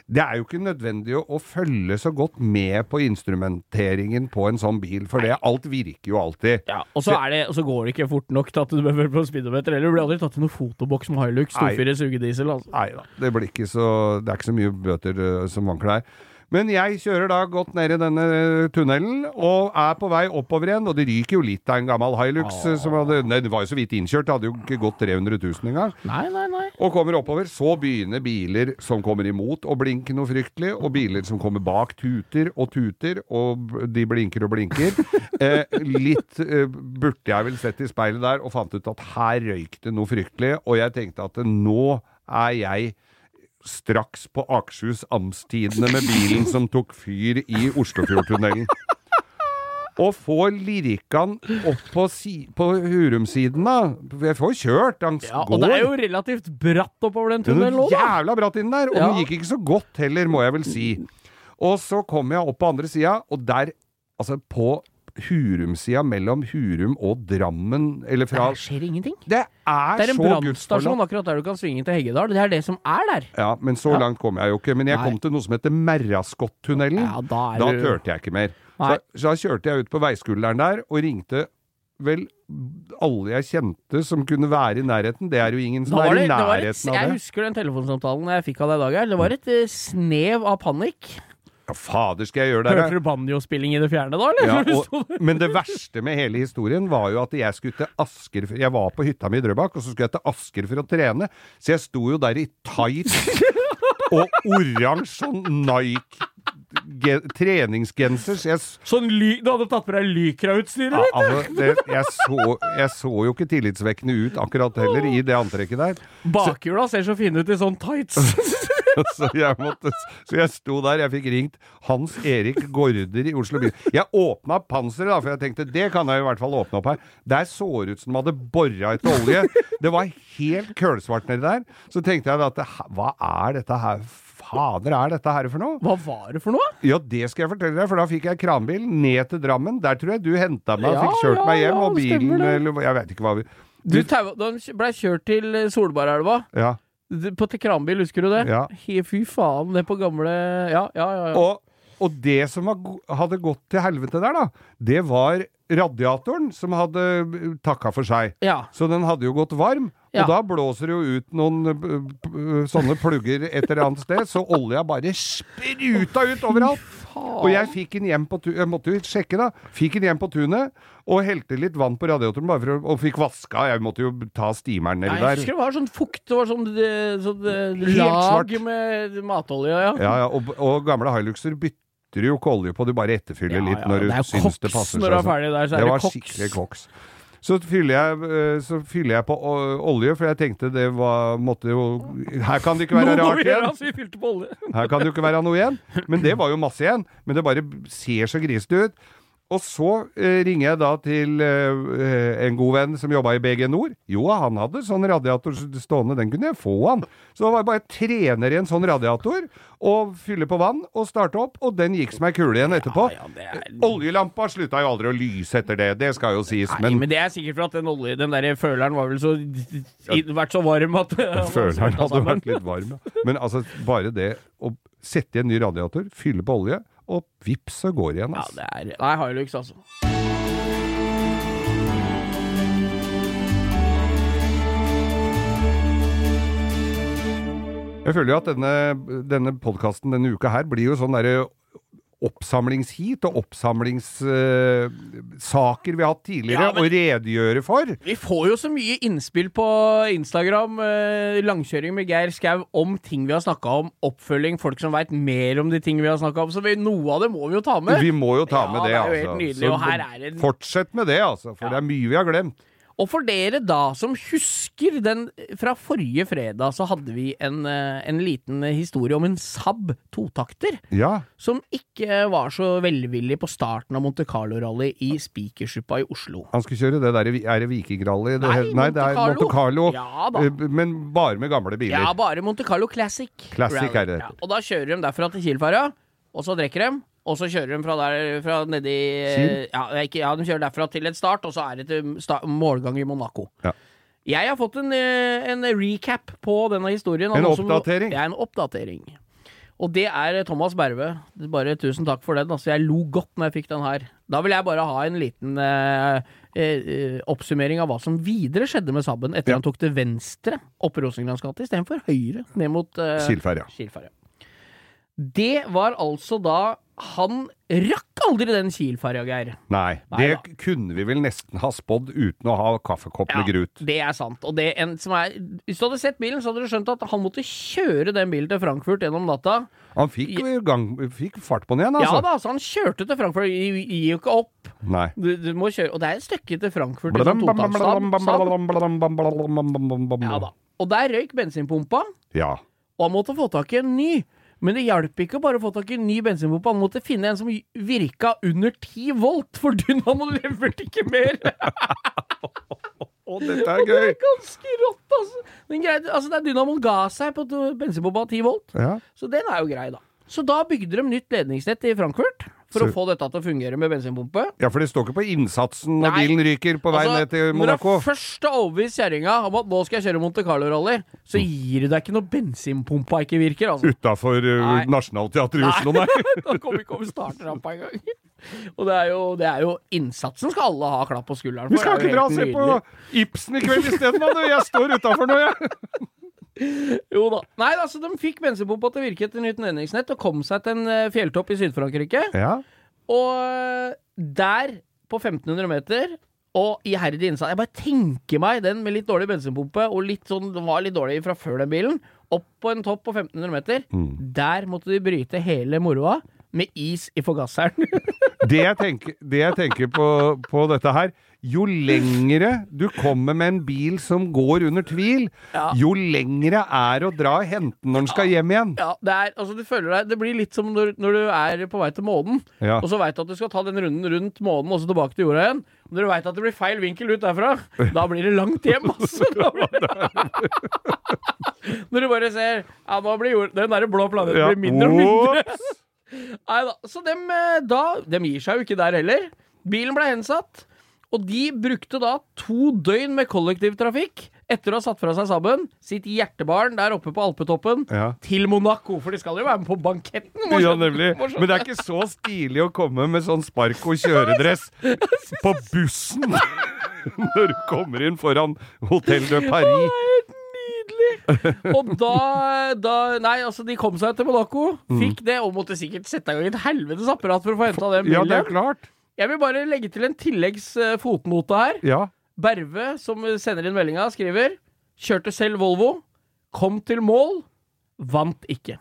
Det er jo ikke nødvendig å, å følge så godt med på instrumenteringen på en sånn bil, for det, alt virker jo alltid. Ja, og så, er det, og så går det ikke fort nok til at du bør på speedometer heller. Du blir aldri tatt i noen fotoboks med Hilux, Nei. storfire sugediesel, altså. Nei da, det blir ikke så Det er ikke så mye bøter eh, som vanker der. Men jeg kjører da godt ned i denne eh, tunnelen, og er på vei oppover igjen. Og det ryker jo litt av en gammel Hilux. eh, Som hadde, nei, det var jo så vidt innkjørt, det hadde jo ikke gått 300 000 engang. Nei, nei, nei. Og kommer oppover, så begynner biler som kommer imot å blinke noe fryktelig, og biler som kommer bak tuter og tuter, og b- de blinker og blinker. Eh, litt eh, burde jeg vel sett i speilet der, og fant ut at her røyk det noe fryktelig, og jeg tenkte at nå er jeg straks på Akershus Amtstidene med bilen som tok fyr i Oslofjordtunnelen. Og får lirkan opp på, si på Hurumsiden, da. Jeg får kjørt, han Ja, og går. det er jo relativt bratt oppover den Det er tunnelen noe òg, da. jævla bratt inn der, og Ja. den gikk ikke så godt heller, må jeg vel si. Og så kom jeg opp på andre sida, og der, altså på Hurumsida mellom Hurum og Drammen, eller fra Der skjer ingenting. Det er, Det er en så gudsforlatt! brannstasjon akkurat der du kan svinge til Heggedal. Det er det som er der. Ja, men så Ja. langt kom jeg jo ikke. Men jeg Nei. kom til noe som heter Merraskottunnelen. Ja, da er Da du- turte jeg ikke mer. Så, Nei. så da kjørte jeg ut på veiskulderen der og ringte vel alle jeg kjente som kunne være i nærheten. Det er jo ingen som Da var er det, i det var et, nærheten jeg av det. husker den telefonsamtalen jeg fikk av deg i dag. her. Det var et eh, snev av panikk. Ja, fader, skal jeg gjøre det her? Hørte du banjospilling i det fjerne da, eller? Ja, Når du sto og, der? men det verste med hele historien var jo at jeg skulle til Asker Jeg var på hytta mi i Drøbak, og så skulle jeg til Asker for å trene. Så jeg sto jo der i tights og oransje sånn Nike ge- treningsgenser, så jeg s- Sånn ly, du hadde tatt på deg lykrautstyret ja, ditt? altså, det, jeg, så, jeg så jo ikke tillitsvekkende ut akkurat heller i det antrekket der. Bakhjula ser så fine ut i sånn tights. Så jeg, måtte, så jeg sto der, jeg fikk ringt Hans Erik Gaarder i Oslo by. Jeg åpna opp panseret, da, for jeg tenkte det kan jeg i hvert fall åpne opp her. Der så det ut som de hadde bora etter olje. Det var helt kølsvart nedi der. Så tenkte jeg da at det- hva er dette her? Fader, er dette her for noe? Hva var det for noe? Ja, det skal jeg fortelle deg, for da fikk jeg kranbil ned til Drammen. Der tror jeg du henta meg og Ja, fikk kjørt ja, meg hjem, ja, og det stemmer bilen det. eller Jeg vet ikke hva vi Du tau- da han blei kjørt til eh, Solbergelva. Ja. D- På til Kranbil, husker du det? Ja. He, fy faen, det på gamle Ja, ja, ja. ja. Og, og det som var, go- hadde gått til helvete der, da, det var radiatoren som hadde eh, takka for seg. ja. Så den hadde jo gått varm, Ja. og da blåser det jo ut noen eh, p- p- sånne plugger et eller annet sted, så olja bare spruta ut overalt. Og jeg fikk den hjem på tu- jeg måtte jo sjekke da, fikk den hjem på tunet, og helte litt vann på radiatoren bare for å, og fikk vaska, jeg måtte jo ta stimeren Nei, nedi jeg der. husker det var sånn fukt, det var sånn, det, sånn det, Helt svart. lag med matolje, ja. Ja, ja, og, og gamle Hiluxer bytter jo ikke olje på, du bare etterfyller Ja, litt ja, når det du er jo syns det koks passer når du er og sånn. ferdig der, så er det det var koks. skikkelig koks. Så fyller, jeg, eh, så fyller jeg på eh, olje, for jeg tenkte det var måtte jo Her kan det ikke være Nå må rart vi gjøre igjen! altså, vi fylte på olje. Her kan det jo ikke være noe igjen! Men det var jo masse igjen. Men det bare ser så grisete ut. Og så eh, ringer jeg da til eh, en god venn som jobba i BG Nord. Jo, han hadde sånn radiator stående, den kunne jeg få han. Så det var bare å trene i en sånn radiator, og fylle på vann, og starte opp, og den gikk som ei kule igjen etterpå. Ja, det er... Oljelampa slutta jo aldri å lyse etter det, det skal jo sies, Nei, men men det er sikkert for at den, olje, den der føleren var vel så i, vært så varm at altså føleren hadde vært litt varm. ja. Men altså, bare det å sette i en ny radiator, fylle på olje, og vips, så går det igjen. altså. Ja, ass. det er Nei, Hilux, altså. Jeg føler jo at denne, denne podkasten denne uka her blir jo sånn derre oppsamlingsheat og oppsamlingssaker vi har hatt tidligere Ja, men- å redegjøre for. Vi får jo så mye innspill på Instagram, eh, langkjøring med Geir Skau, om ting vi har snakka om, oppfølging, folk som veit mer om de ting vi har snakka om, så vi, noe av det må vi jo ta med. Vi må jo ta Ja, med det, det er jo helt altså. nydelig, Så og her er det en- Fortsett med det, altså, for Ja. det er mye vi har glemt. Og for dere da som husker den fra forrige fredag, så hadde vi en, eh, en liten historie om en Saab totakter. Ja. Som ikke var så velvillig på starten av Monte Carlo-rally i Spikersuppa i Oslo. Han skulle kjøre det derre Er det vikingrally? Det Nei, heter- nei, det er Monte Monte Carlo. Carlo. Ja da. Eh, Men bare med gamle biler. Ja, bare Monte Carlo Classic. Classic Rally. er det. Ja, og da kjører de derfra til Kielferja, og så drikker de. Og så kjører de fra, der, fra nedi eh, Kiel? ja, det er ikke, ja, de kjører derfra til et start, og så er det til sta målgang i Monaco. Ja. Jeg har fått en, eh, en recap på denne historien. av En noe som- oppdatering. Ja, en oppdatering. Og det er eh, Thomas Berve. Bare tusen takk for den. Altså, jeg lo godt når jeg fikk den her. Da vil jeg bare ha en liten eh, eh, oppsummering av hva som videre skjedde med Sabben etter Ja. han tok til venstre opp Rosengrans gate istedenfor høyre ned mot eh, Skilferja. Kilferja. Det var altså da Han rakk aldri den Kilferja, Geir. Nei, Nei det kunne vi vel nesten ha spådd uten å ha kaffekopp med grut. det er sant. Og det en som er, hvis du hadde sett bilen, så hadde du skjønt at han måtte kjøre den bilen til Frankfurt gjennom natta. Han fikk, jo gang, fikk fart på den igjen, altså. Ja da, så han kjørte til Frankfurt. Gi- Gir jo ikke opp. Nei. Du, du må kjøre. Og det er et stykke til Frankfurt. i sånn totaktstab. Ja da. Ja. Og der røyk bensinpumpa, ja. og han måtte få tak i en ny. Men det hjalp ikke å bare få tak i en ny bensinpumpe. Han måtte finne en som virka under 10 volt, for dynamoen leverte ikke mer. Å, dette er gøy! Ganske rått, altså. Den greide, altså den dynamoen ga seg på t- bensinpumpa 10 volt, Ja. så den er jo grei, da. Så da bygde de nytt ledningsnett i Frankfurt for Så- å få dette til å fungere med bensinpumpe. Ja, for det står ikke på innsatsen når Nei. bilen ryker på vei Altså, ned til Monaco. Når du først har overbevist kjerringa om at nå skal jeg kjøre Monte Carlo-rally, Mm. så gir du deg ikke når bensinpumpa ikke virker, altså. Utafor Nei. eh, Nationaltheatret i Oslo, nei. Da kommer ikke over startrampa engang. Og det er, jo, det er jo Innsatsen skal alle ha klapp på skulderen for. Vi skal det er ikke jo dra og helt se på nydelig. Ibsen i kveld isteden, mann! Jeg står utafor nå, jeg. Jo da. Nei, altså, de fikk bensinpumpa til å virke etter nytt nedningsnett og kom seg til en eh, fjelltopp i Syd-Frankrike. Ja. Og eh, der, på 1500 meter og iherdig innsats Jeg bare tenker meg den med litt dårlig bensinpumpe, og litt sånn, den var litt dårlig fra før den bilen, opp på en topp på 1500 meter. Der måtte de bryte hele moroa med is i forgasseren. Det jeg tenker, det jeg tenker på, på dette her Jo lengre du kommer med en bil som går under tvil, Ja. jo lengre er å dra og hente den når den skal hjem igjen. ja, det er, altså du føler deg Det blir litt som når, når du er på vei til månen, Ja. og så veit du at du skal ta den runden rundt månen og så tilbake til jorda igjen. Og når du veit at det blir feil vinkel ut derfra, da blir det langt hjem, altså. Da blir det... når du bare ser Ja, nå blir jord... den der blå planeten Ja. blir mindre og mindre. Ops! Nei da. Så dem, eh, da, dem gir seg jo ikke der heller. Bilen ble hensatt, og de brukte da to døgn med kollektivtrafikk etter å ha satt fra seg sammen sitt hjertebarn der oppe på alpetoppen Ja. til Monaco. For de skal jo være med på banketten. må Ja, skjønne- nemlig. må skjønne. Men det er ikke så stilig å komme med sånn spark og kjøredress på bussen når du kommer inn foran Hotell de Paris. Nydelig! Og da, da Nei, altså, de kom seg til Monaco, Mm. fikk det, og måtte sikkert sette i gang et helvetes apparat for å få henta den Ja, bilen. det er klart. Jeg vil bare legge til en tilleggs eh, fotnote her. Ja. Berve, som sender inn meldinga, skriver Kjørte selv Volvo, kom til mål, vant ikke.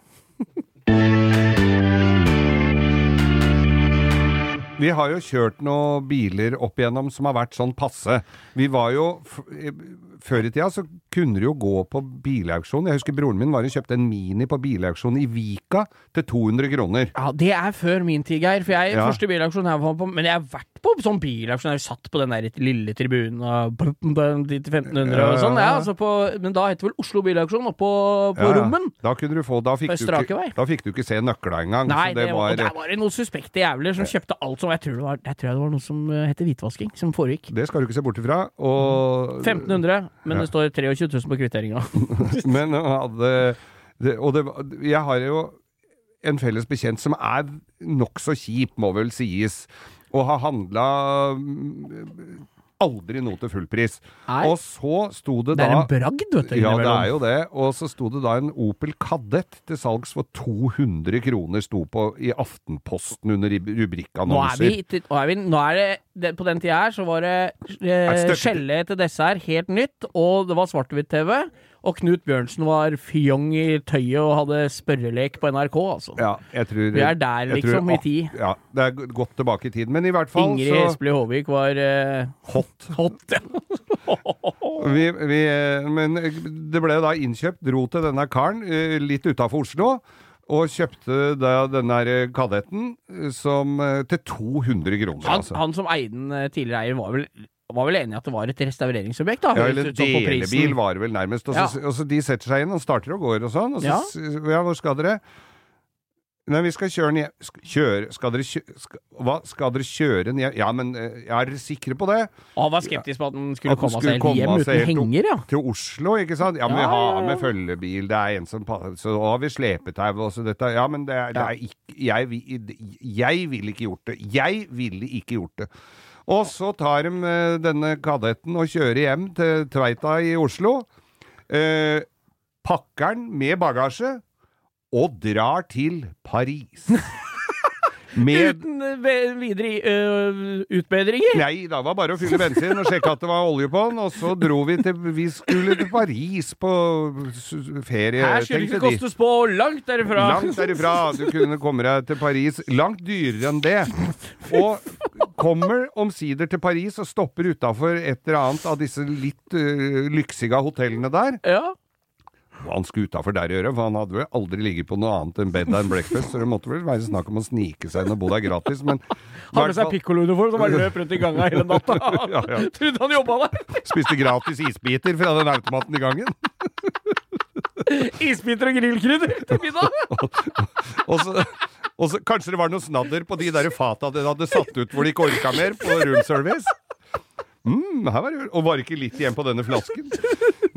Vi har jo kjørt noen biler opp igjennom som har vært sånn passe. Vi var jo f eh, Før i tida så kunne du jo gå på bilauksjon. Jeg husker broren min var og kjøpte en Mini på bilauksjon i Vika til 200 kroner. Ja, Det er før min tid, Geir. For jeg Ja. første bilauksjon jeg var på Men jeg har vært på sånn bilauksjon. Jeg har jo satt på den der lille tribunen og blup, blup, dit til 1500 Ja, ja, og sånn. Ja, ja. altså på, men da het det vel Oslo Bilauksjon, oppå Ja, på ja. Rommen. Da, kunne du få, da, fikk På du strake ikke, vei. da fikk du ikke se nøkla engang. Nei, så det, det var, var, og der var det noen suspekte jævler som kjøpte alt som Jeg tror det var, jeg tror det var noe som eh, heter hvitvasking, som foregikk. det skal du ikke se bort ifra. Mm. Og 1500, men det står 23 000 på kvitteringa. Men han hadde det, Og det, var- jeg har jo en felles bekjent som er nokså kjip, må vel sies, og har handla mm, aldri noe til full pris. Nei. Og så sto det Det er da en bragd, vet du. ja, det innimellom. er jo det. Og så sto det da en Opel Kadett til salgs for 200 kroner, sto på i Aftenposten under i- Nå er, rubrikkannonser. vi, til- nå er, vi, nå er det, det På den tida her så var det eh, Et stykke- skjellet til dessert helt nytt, og det var svart-hvitt-TV. Og Knut Bjørnsen var fjong i tøyet og hadde spørrelek på NRK, altså. Ja, jeg tror, Vi er der, jeg liksom, i ak- tid. Ja, det er g- godt tilbake i tid. Men i hvert fall Ingrid så Espelid Håvik var eh, Hot. hot. ja. Vi, vi, men eh, det ble da innkjøpt, dro til denne karen eh, litt utafor Oslo, og kjøpte da denne her kadetten eh, som, eh, til 200 kroner, Han, altså. han som eide den eh, tidligere eier, var vel, var vel enig i at det var et restaureringsobjekt? da Ja, høres eller ut som på prisen. delebil var det vel nærmest. Og så, og så de setter seg inn og starter og går og sånn. Og så Ja. s- ja, hvor skal dere? Nei, vi skal kjøre den hjem. Sk- Kjøre Skal dere kjøre skal, Hva? Skal dere kjøre den hjem? Ja, men eh, er dere sikre på det? Og han var skeptisk på at den skulle At den komme skulle seg helt komme hjem seg uten helt opp. henger, ja. til Oslo, ikke sant? Ja, men vi Ja, ja, har ja. med følgebil, det er en som passer, så da har vi slepetau og så dette. Ja, men det er, det Ja. er ikke, jeg, vi- jeg ville ikke gjort det. Jeg ville ikke gjort det. Og så tar de eh, denne kadetten og kjører hjem til Tveita i Oslo, eh, pakker den med bagasje, og drar til Paris. Med Uten eh, ve- videre eh, utbedringer. Nei, da var det bare å fylle bensin og sjekke at det var olje på den, og så dro vi til Vi skulle til Paris på s- ferie, Her skulle det tenkte ikke de. kostes på langt derifra. Langt derifra. Du kunne komme deg til Paris. Langt dyrere enn det. Og kommer omsider til Paris og stopper utafor et eller annet av disse litt uh, lyksiga hotellene der. Ja. Og han skulle utafor der å gjøre, for han hadde vel aldri ligget på noe annet enn bed and breakfast, så det måtte vel være snakk om å snike seg inn og bo der gratis, men Har med seg Hvertfall- pikkolo-uniform som bare løp rundt i ganga hele natta. Ja, ja. Trodde han jobba der. spiste gratis isbiter fra den automaten i gangen. Isbiter og grillkrydder til middag. Og så, Og så, kanskje det var noe snadder på de der fata den hadde satt ut hvor de ikke orka mer på roomservice. Mm, her var det, og var det ikke litt igjen på denne flasken?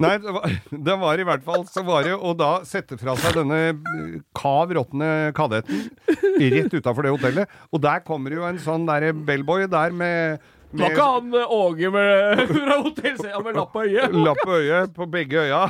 Nei, det var, det var i hvert fall så var det å da sette fra seg denne eh, kav råtne kadetten rett utafor det hotellet. Og der kommer jo en sånn derre bellboy der med, Det var med ikke han eh, Åge med, fra Hotell Sea med lapp på øyet? Lapp på øyet på begge øya,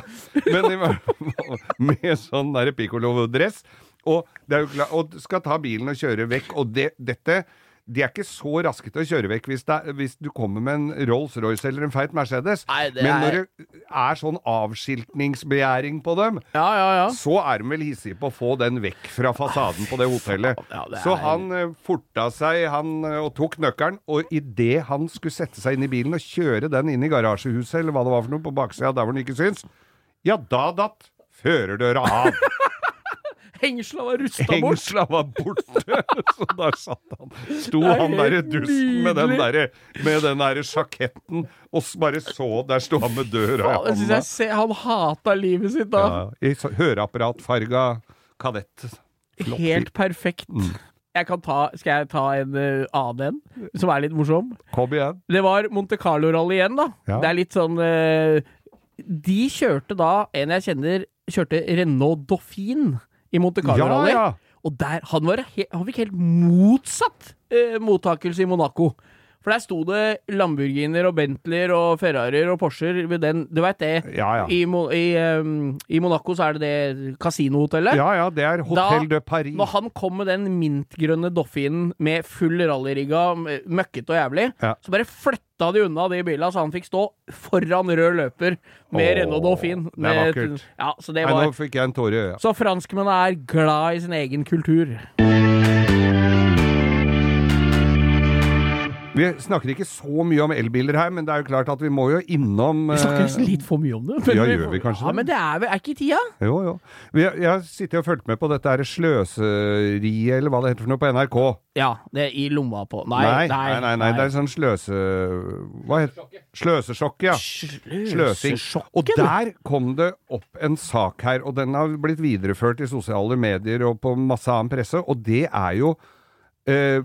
men i hvert fall med sånn der piccolo-dress. Og, det er jo kla- og skal ta bilen og kjøre vekk. Og det, dette De er ikke så raske til å kjøre vekk hvis, det, er- hvis du kommer med en Rolls-Royce eller en feit Mercedes. Nei, det men er- når det er sånn avskiltningsbegjæring på dem, Ja, ja, ja. så er de vel hissige på å få den vekk fra fasaden på det hotellet. Ja, det er- Så han eh, forta seg han, eh, og tok nøkkelen, og idet han skulle sette seg inn i bilen og kjøre den inn i garasjehuset, eller hva det var for noe, på baksida der hvor den ikke syns, ja, da datt førerdøra av. Hengsla var rusta bort. Hengsla var borte, så der satt han. Sto Det er han derre helt dusten med den nydelig. derre med den derre sjaketten, og s- bare så Der sto han med døra Ja, i det synes hånda. jeg ser, han hata livet sitt da. Ja, I så- høreapparatfarga kadett. flott Mm. Helt perfekt. Jeg kan ta, skal jeg ta en eh, annen en, som er litt morsom? Kom igjen. Det var Monte Carlo-rally igjen, da. Ja. Det er litt sånn eh, De kjørte da En jeg kjenner, kjørte Renault Dauphine i Monte Carlo-rally. Ja, ja. Og der, han, var he, han fikk helt motsatt eh, mottakelse i Monaco. For der sto det Lamborghiner og Bentleyer og Ferrarier og Porscher ved den Du veit det. Ja, ja. I, Mo- i, eh, I Monaco så er det det kasinohotellet. Ja, ja, det er Hotel de Paris. Når han kom med den mintgrønne Doffinen med full rallyrigga, m- møkkete og jævlig, Ja. så bare flytta de unna de bila, så han fikk stå foran rød løper med Åh, Renault Dauphin. det er Med- vakkert. Ja, så det Nei, nå var fikk jeg en tåre i øya. Så franskmennene er glad i sin egen kultur. Vi snakker ikke så mye om elbiler her, men det er jo klart at vi må jo innom Vi snakker nesten eh, litt for mye om det. ja, gjør vi kanskje Ja, det? men det er vel er ikke i tida? Jo, jo. Vi, jeg har sittet og fulgt med på dette her sløseriet, eller hva det heter for noe, på NRK. Ja, det er i lomma på Nei, nei, nei, nei, nei, det er sånn sløse... Hva heter Sløsesjokk, ja. Sløsing. Og der kom det opp en sak her, og den har blitt videreført i sosiale medier og på masse annen presse, og det er jo eh,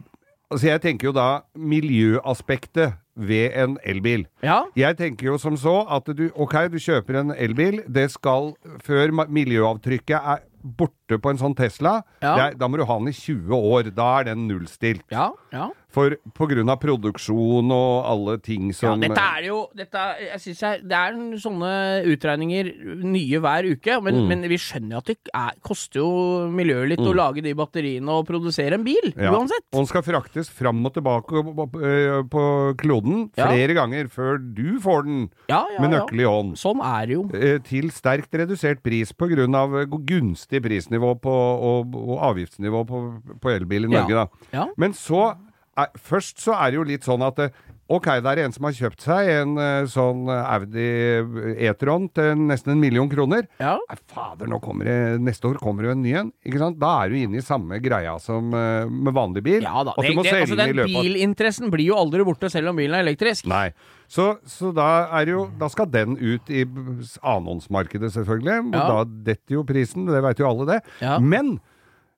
Altså, jeg tenker jo da miljøaspektet ved en elbil. Ja. Jeg tenker jo som så at du, ok, du kjøper en elbil, det skal, før ma- miljøavtrykket er borte på en sånn Tesla, Ja. det er, da må du ha den i 20 år, da er den nullstilt. Ja, ja. For på grunn av produksjon og alle ting Ja, som... eh, dette er jo dette, er- jeg synes jeg, Det er en- sånne utregninger nye hver uke, men, Mm. men vi skjønner jo at det er, koster jo miljøet litt å lage de batteriene og produsere en bil, Ja. uansett. Og den skal fraktes fram og tilbake opp- opp- ø, på kloden Ja. flere ganger før du får den Ja, ja, med ja. nøkkel i hånd. Sånn er det jo. Eh, Til sterkt redusert pris pga. eh, gunstig prisnivå på, og, og avgiftsnivå på, på elbil i Ja. Norge, da. Ja. Men så er, Først så er det jo litt sånn at eh, Ok, det er en som har kjøpt seg en eh, sånn Audi E-tron til nesten en million kroner. Ja. Nei, fader, nå kommer det, neste år kommer det jo en ny en. Ikke sant? Da er du inne i samme greia som eh, med vanlig bil. Ja da. at du Det, må det, selge altså, den den i løpet av bilinteressen blir jo aldri borte selv om bilen er elektrisk. Nei. Så, så da er jo Da skal den ut i b- s- annonsmarkedet, selvfølgelig. Og Ja. da detter jo prisen, det veit jo alle det. Ja. Men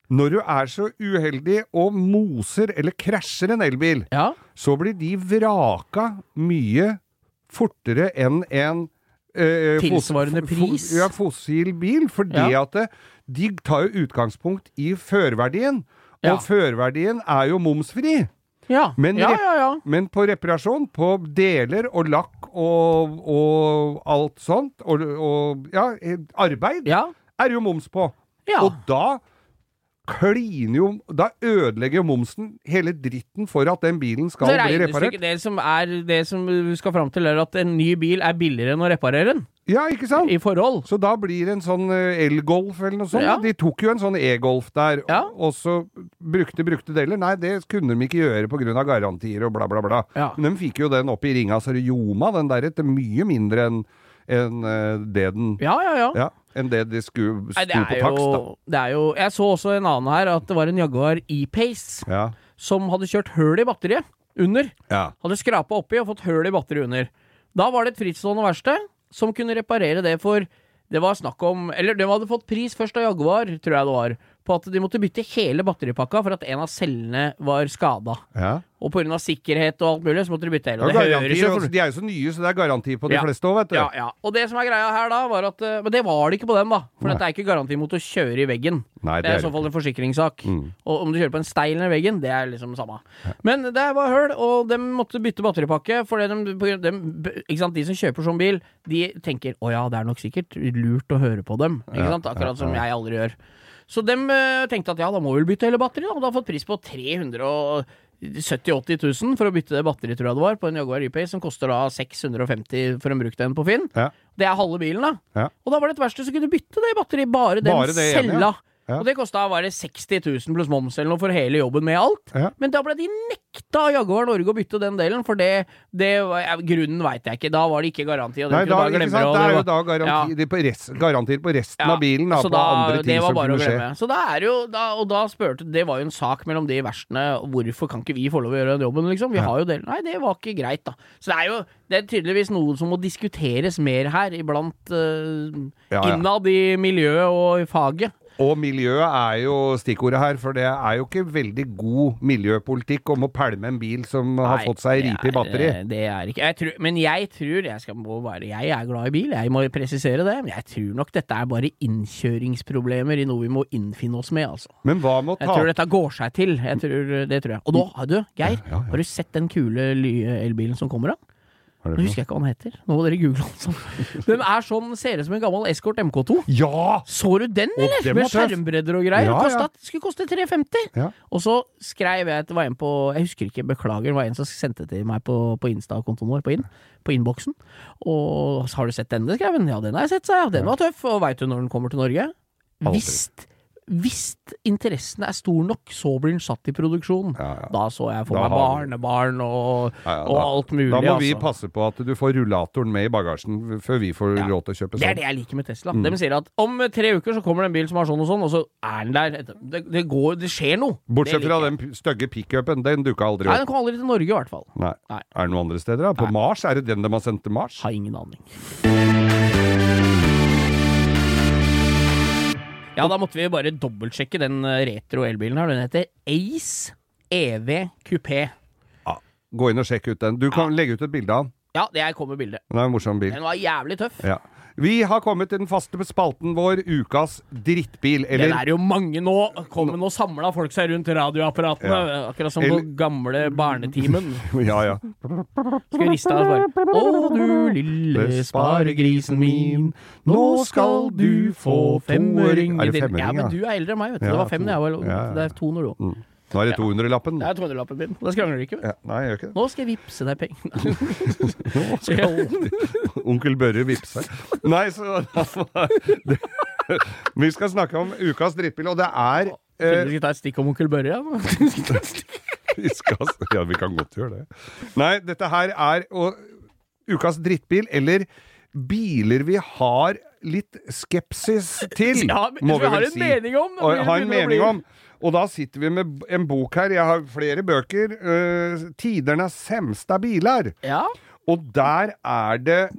når du er så uheldig og moser eller krasjer en elbil, Ja. så blir de vraka mye fortere enn en eh, Tilsvarende fos- fo- pris. Ja, fossil bil, fordi Ja. at det, de tar jo utgangspunkt i førverdien, og Ja. førverdien er jo momsfri. Ja. Men ja, rep- ja, ja. Men på reparasjon, på deler og lakk og, og alt sånt, og, og ja, eh, arbeid, ja. er jo moms på. Ja. Og da kliner jo Da ødelegger jo momsen hele dritten for at den bilen skal Så bli reparert. regnestykket, det som, er, det som du skal fram til, er at en ny bil er billigere enn å reparere den, Ja, ikke sant? i forhold. Så da blir det en sånn eh, elgolf eller noe sånt. Ja. De tok jo en sånn e-golf der, Ja. og så brukte brukte deler. Nei, det kunne de ikke gjøre pga. garantier og bla, bla, bla. Ja. Men de fikk jo den opp i ringa så det ljoma, den der, etter mye mindre enn enn, eh, det den Ja, ja, ja. Ja, enn det de skulle Nei, sto på takst, da. det er jo Jeg så også en annen her, at det var en Jaguar E-Pace Ja. som hadde kjørt høl i batteriet under. ja. Hadde skrapa oppi og fått høl i batteriet under. Da var det et frittstående verksted som kunne reparere det for Det var snakk om Eller de hadde fått pris først av Jaguar, tror jeg det var, på at de måtte bytte hele batteripakka for at en av cellene var skada. Ja. Og pga. sikkerhet og alt mulig, så måtte de bytte hele. Det Og er det høres garantier, jo og de er jo så nye, så det er garanti på de Ja. fleste òg, vet du. ja, ja. Og det som er greia her, da, var at eh, Men det var det ikke på den, da. For Nei. dette er ikke garanti mot å kjøre i veggen. Nei, Det er i så fall en forsikringssak. Mm. Og om du kjører på en steil eller veggen, det er liksom samme. Men det var høl, og de måtte bytte batteripakke. For det de, på grunn- dem- ikke sant? de som kjøper sånn bil, de tenker å ja, det er nok sikkert lurt å høre på dem. Ikke Ja, sant? Akkurat som jeg aldri gjør. Så de tenkte at ja, da må vi vel bytte hele batteriet, da. Og du har fått pris på 370 000-80 000 for å bytte det batteriet, tror jeg det var, på en Jaguar Y-Pace, som koster da 650 for en brukt en på Finn. Ja. Det er halve bilen, da. Ja. Og da var det et verksted som kunne bytte det batteriet, bare den Bare det ene, cella. ja. Ja. Og det kosta bare 60 000 pluss moms eller noe for hele jobben med alt. Ja. Men da ble de nekta av Jaguar Norge å bytte den delen, for det, det var- eh, Grunnen veit jeg ikke, da var det ikke garanti. Og de Nei, kunne da, bare ikke glemme sant? og Det er jo var- da garanti, Ja. de på rest, garantier på resten Ja, av bilen, da, så på andre ting det var som bare å kunne skje. glemme. Så da er det jo, da, og da spurte Det var jo en sak mellom de verstene. Hvorfor kan ikke vi få lov å gjøre den jobben, liksom? Vi har jo del Nei, det var ikke greit, da. Så det er jo det er tydeligvis noe som må diskuteres mer her, iblant eh, Ja, ja. innad i miljøet og i faget. Og miljøet er jo stikkordet her, for det er jo ikke veldig god miljøpolitikk om å pælme en bil som har Nei, fått seg det ripe i er- batteriet. Det er ikke jeg tror, Men jeg tror jeg, skal, må være, jeg er glad i bil, jeg må presisere det. Men jeg tror nok dette er bare innkjøringsproblemer i noe vi må innfinne oss med, altså. Men hva med å Jeg ta tror dette går seg til. Jeg tror, det tror jeg. Og nå, har du, Geir, Ja, ja. har du sett den kule nye elbilen som kommer? da? Hva er det Nå for noe? husker jeg ikke hva den heter. Nå må dere google den. Sånn. Den er sånn, ser ut som en gammel Escort MK2. Ja! Så du den, eller? den Med var tøff. skjermbredder og greier. Ja, ja. Kostet, Skulle koste 350. Ja. Og så skrev jeg at det var en på Jeg husker ikke, beklager. Det var en som sendte til meg på, på Insta-kontoen vår, på, inn, på innboksen. Og så har du sett denne, skrev hun. Ja, den har jeg sett, sa jeg. Den var tøff. Og veit du når den kommer til Norge? Aldri. Hvis hvis interessen er stor nok, så blir den satt i produksjon. Ja, ja. Da så jeg for Da meg har du- barnebarn og, Ja, ja, og da- alt mulig. Da må vi altså. passe på at du får rullatoren med i bagasjen før vi får Ja. råd til å kjøpe Det er sånn. det jeg liker med Tesla. De sier at om tre uker så kommer det en bil som har sånn og sånn, og så er den der. etter- Det, det, går, det skjer noe. Bortsett Det fra liker jeg. den p- stygge pickupen, den dukka aldri Nei, opp. den kom aldri til Norge, i hvert fall. Nei. Nei. Er det noen andre steder, da? På Mars? Er det den de har sendt til Mars? Har ingen aning. Ja, da måtte vi bare dobbeltsjekke den eh, retro elbilen her. Den heter Ace EV Coupé. Gå inn og sjekk ut den. Du kan legge ut et bilde av den. Ja, det her kommer bildet. Den er en morsom bil. Den var jævlig tøff. Ja. Vi har kommet til den faste spalten vår, ukas drittbil. Det Eller er jo mange nå. Kommer nå samla folk seg rundt radioapparatene. Akkurat som på Eller- gamle barnetimen. Ja, ja. Skal vi riste av oss bare Å, du lille sparegrisen min, nå skal du få femøring Er det i din- femøring, Ja, men ja? du er eldre enn meg, vet du. Ja, det var fem to. da jeg var Ja, ja. Det er to når du òg. Mm. Nå er det 200-lappen. Det er 200-lappen min. Da skrangler du ikke, vet du. Ja, nei, jeg gjør ikke det. Nå skal jeg vippse deg pengene. Nå skal onkel Børre vippse. Nei, så det, Vi skal snakke om ukas drittbil, og det er Skulle eh, vi ta et stikk om onkel Børre? Ja? vi skal, Ja, vi kan godt gjøre det. Nei, dette her er å, ukas drittbil, eller biler vi har litt skepsis til, Ja, men- vi har en mening om, da, Og, blir det har en begynner å bli- mening om. Og da sitter vi med en bok her. Jeg har flere bøker. eh, 'Tidernes semsta biler'. ja. Og der er det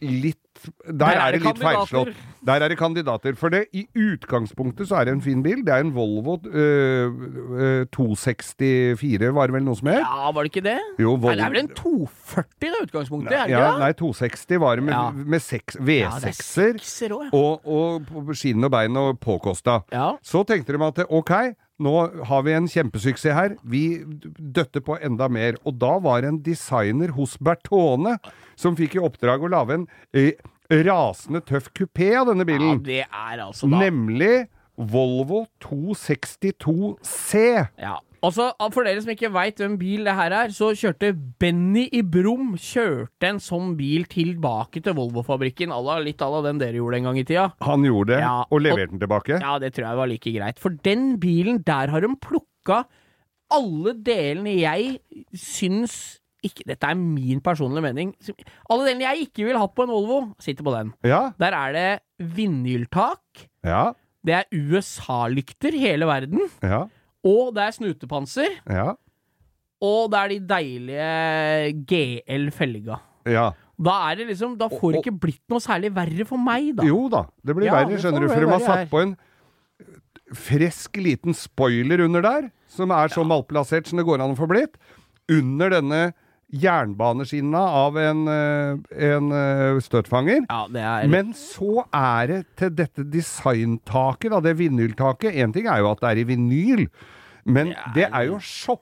litt Der, er det, litt kandidater. feilslått. Der er det kandidater. For det, i utgangspunktet så er det en fin bil. Det er en Volvo øh, øh, 264, var det vel noe som het? ja, var det ikke det? Jo, Nei, det er vel en 240 i utgangspunktet, er det ja, ikke det? nei, 260 var det med, Ja. med seks, Ja, det er V6-er. sekser også, ja. og, og på skinn og bein og påkosta. Ja. Så tenkte de at ok, nå har vi en kjempesuksess her, vi døtter på enda mer. Og da var det en designer hos Bertone som fikk i oppdrag å lage en eh, rasende tøff kupé av denne Ja, bilen. det er altså da Nemlig Volvo 262 C. Ja. Og så, for dere som ikke veit hvem bil det her er, så kjørte Benny i Brum kjørte en sånn bil tilbake til Volvo-fabrikken. à la- Litt à la den dere gjorde en gang i tida. Han gjorde det, Ja, og og- leverte den tilbake. Ja, det tror jeg var like greit. For den bilen, der har de plukka alle delene jeg syns ikke, Dette er min personlige mening. som- Alle delene jeg ikke ville hatt på en Volvo, sitter på den. Ja, Der er det vindhjultak. ja, Det er USA-lykter hele verden. ja. Og det er snutepanser. ja, Og det er de deilige GL-felga. ja. Da er det liksom, da får det ikke blitt noe særlig verre for meg, da. Jo da, det blir Ja, verre, det skjønner du, får for de det har være satt her. på en fresk liten spoiler under der, som er så malplassert som det går an å få blitt. Under denne jernbaneskinna av en, eh, en eh, støtfanger. Ja, det er Men så er det til dette designtaket, da, det vinyltaket. Én ting er jo at det er i vinyl, men det er jo shoppa,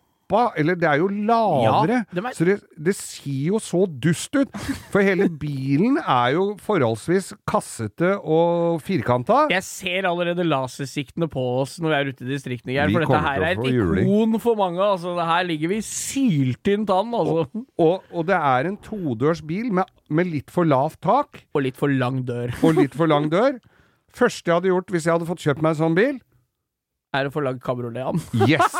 eller det er jo lavere. Ja, de er- Så det, det ser jo så dust ut. For hele bilen er jo forholdsvis kassete og firkanta. Jeg ser allerede lasersiktene på oss når vi er ute i distriktene, Geir. Vi For dette kommer her til å er et få juling. ikon for mange. Altså, det her ligger vi syltynt an, altså. Og, og det er en todørs bil med, med litt for lavt tak Og litt for lang dør. og litt for lang dør. Første jeg hadde gjort hvis jeg hadde fått kjøpt meg en sånn bil Er det for lang kabriolet, Jan? Yes!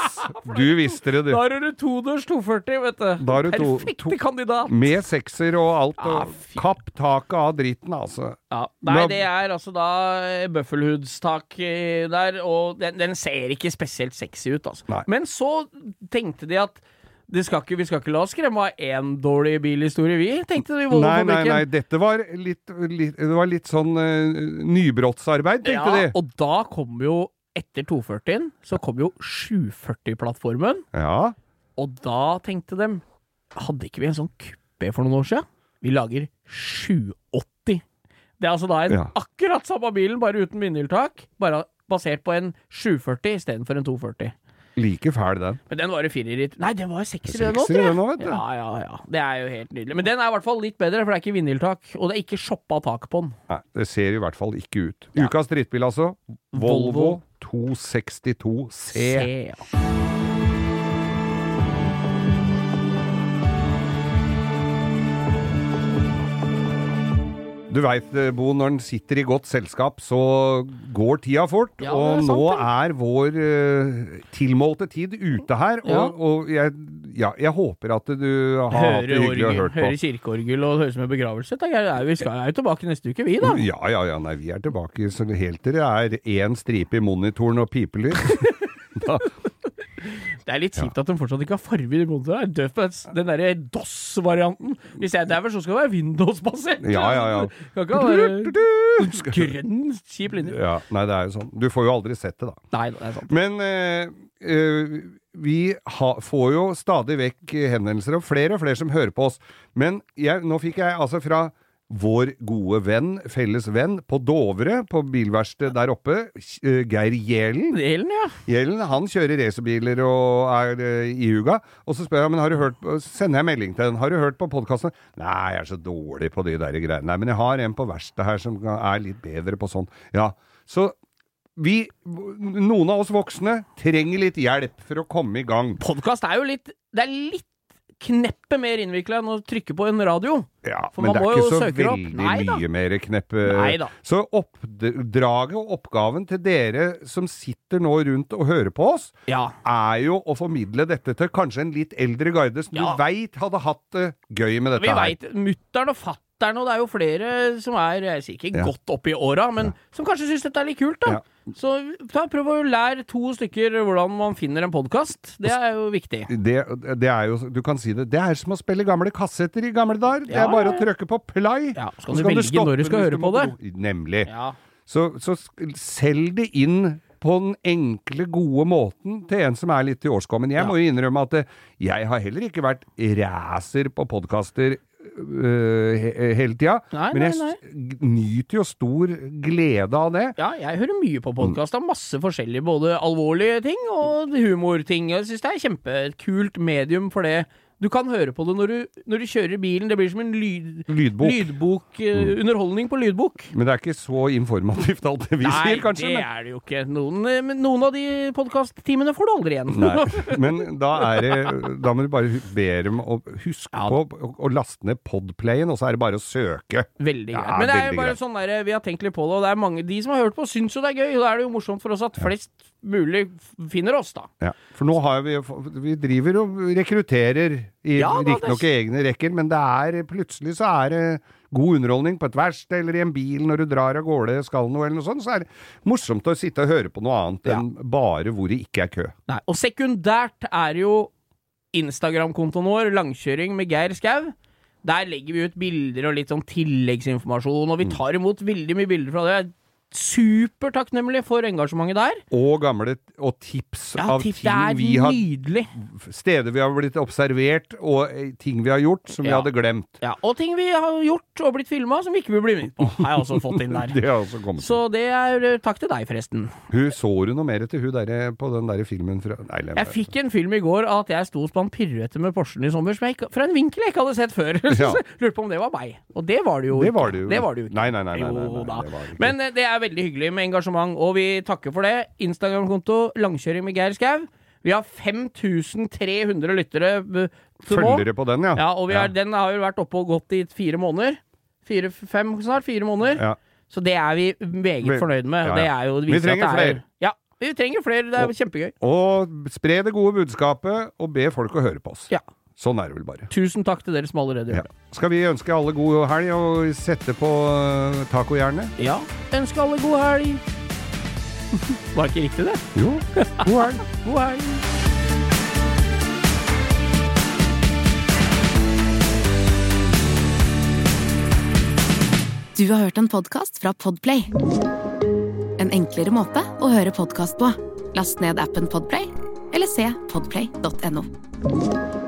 Du visste det, du. Da har du todørs 240, vet du. Da har du to- Perfekte to- kandidat. Med sekser og alt. Ah, Og fy- kapp taket av dritten, altså. Ja. Nei, Da- det er altså da eh, bøffelhudstak eh, der, og den, den ser ikke spesielt sexy ut, altså. Nei. Men så tenkte de at det skal ikke, vi skal ikke la oss skremme av én dårlig bilhistorie, vi, tenkte de i Nei, nei, nei. Volvo-fabrikken. Dette var litt, litt, det var litt sånn eh, nybrottsarbeid, tenkte Ja, de. og da kom jo etter 240-en, så kom jo 740-plattformen, Ja. og da tenkte de Hadde ikke vi en sånn kuppé for noen år siden? Vi lager 780. Det er altså da en Ja. akkurat samme bilen, bare uten vinyltak. Bare basert på en 740 istedenfor en 240. Like fæl, den. Men den var jo firer i Nei, den var jo sekser, Sekser den nå, tror i den jeg. nå, vet du. Ja, ja, ja. Det er jo helt nydelig. Men den er i hvert fall litt bedre, for det er ikke vinyltak. Og det er ikke shoppa tak på den. Nei, det ser i hvert fall ikke ut. Ukas drittbil, altså. Volvo 262 C. Se, ja. Du veit, Bo, når en sitter i godt selskap, så går tida fort. Ja, og det er sant, nå det. er vår eh, tilmålte tid ute her. Og, Ja. og jeg, ja, jeg håper at du har hatt det Hører hyggelig og orgel, hørt på. hører kirkeorgel og det høres ut som en begravelse. Da, Geir. Nei, vi skal er jo tilbake neste uke, vi da. Ja, ja, ja. Nei, vi er tilbake så helt til det er én stripe i monitoren og pipelyd. Det er litt kjipt at de fortsatt ikke har farge i motoren. Jeg er døv på den- den derre DOS-varianten. Hvis jeg dauer, så skal det være Windows-basert. Ja, ja, ja. Kan ikke være grønn, kjip linje. Ja, nei, det er jo sånn. Du får jo aldri sett det, da. Nei, det er sant. Men eh, eh, vi ha, får jo stadig vekk henvendelser, og flere og flere som hører på oss. Men jeg, nå fikk jeg altså fra vår gode venn, felles venn, på Dovre, på bilverkstedet der oppe, eh, Geir Gjelen. Delen, ja. Gjellen han kjører racerbiler og er eh, i huga. Og så spør jeg men har du hørt på, så sender jeg melding til den. Har du hørt på podkasten? Nei, jeg er så dårlig på de der greiene. Nei, men jeg har en på verkstedet her som er litt bedre på sånn. Ja, så vi, noen av oss voksne, trenger litt hjelp for å komme i gang. Podkast er jo litt Det er litt kneppet mer innvikla enn å trykke på en radio. Ja, For men man det må er ikke jo så søke det opp. veldig Nei da. mye mer kneppe Nei da. Så oppdraget og oppgaven til dere som sitter nå rundt og hører på oss, Ja. er jo å formidle dette til kanskje en litt eldre garde som Ja. du veit hadde hatt det gøy med dette Vi her. veit mutter'n og fatter'n, og det er jo flere som er jeg sier ikke Ja. godt opp i åra, men som kanskje syns dette er litt kult, da. Ja. Så ta, prøv å lære to stykker hvordan man finner en podkast. Det Altså er jo viktig. Det, det er jo, du kan si det, det er som å spille gamle kassetter i gamle dager. Det Ja, er bare å ja, trykke på play. Ja, så kan og du velge når du skal høre på det. Nemlig. Ja. Så, så sk- selg det inn på den enkle, gode måten til en som er litt i årskommen. Jeg må jo innrømme at eh, jeg har heller ikke vært racer på podkaster øh, he hele tida. Nei, Men jeg nei, s- g- nyter jo stor glede av det. ja, jeg hører mye på podkast av masse forskjellige, både alvorlige ting og humorting. Jeg syns det er kjempekult medium for det. Du kan høre på det når du, når du kjører bilen. Det blir som en lyd, Lydbok. Mm. lydbok eh, underholdning på lydbok. Men det er ikke så informativt alt det vi Nei, sier, kanskje. det Men, er det jo ikke. Noen, eh, men noen av de podkasttimene får du aldri igjen. nei. men da er det Da må du bare hu- be dem å huske Ja. på å- å laste ned Podplayen, og så er det bare å søke. Veldig greit. Ja, men det er veldig jo bare greit. sånn der, vi har tenkt litt på det, og det er mange, de som har hørt på, syns jo det er gøy. Og da er det jo morsomt for oss at flest mulig finner oss, da. Ja. For nå har vi Vi driver og rekrutterer, i Ja, da, det- riktignok i egne rekker, men det er plutselig så er det god underholdning på et verksted eller i en bil når du drar av gårde, skal noe eller noe sånt, så er det morsomt å sitte og høre på noe annet Ja. enn bare hvor det ikke er kø. Nei, og sekundært er jo Instagram-kontoen vår, Langkjøring med Geir Skau. Mm. Der legger vi ut bilder og litt sånn tilleggsinformasjon, og vi tar imot veldig mye bilder fra det. supertakknemlige for engasjementet der. Og gamle og tips Ja, av tipp, det ting er vi har nydelig. Steder vi har blitt observert, og eh, ting vi har gjort som vi Ja. hadde glemt. Ja, og ting vi har gjort og blitt filma som vi ikke vil bli med på. Har jeg også fått inn der. Det har også kommet. Så det er eh, takk til deg, forresten. Hun så du noe mer til hun derre på den derre filmen fra Nei, Jeg Lene. fikk en film i går av at jeg sto og spant piruetter med Porschen i sommer, som jeg ikke, fra en vinkel jeg ikke hadde sett før. Ja. Lurte på om det var meg. Og det var det jo Det ikke. var det jo. Det var det jo ikke. Nei, nei, nei. nei, nei, nei, Jo da. det var det ikke. Men eh, det er veldig hyggelig med engasjement, og vi takker for det. Instagram-konto Langkjøring med Geir Skau. Vi har 5300 lyttere eh, til nå. Følgere på den, ja. Ja, og vi har, den har jo vært oppe og gått i fire måneder. Fire-fem snart. Fire måneder. Ja. Så det er vi Vi- meget fornøyd med. ja, ja. Det er jo, det Vi viser at trenger det er, flere. Ja, vi trenger flere. Det er kjempegøy. Og spre det gode budskapet, og be folk å høre på oss. Ja. Sånn er det vel bare. Tusen takk til dere som allerede Ja. gjør det. Skal vi ønske alle god helg og sette på eh, tacojernet? Ja. Ønske alle god helg. Var ikke riktig, det? Jo, god helg. God helg. Du har hørt en podcast fra Podplay En enklere måte å høre podcast på Last ned appen Podplay Eller se podplay.no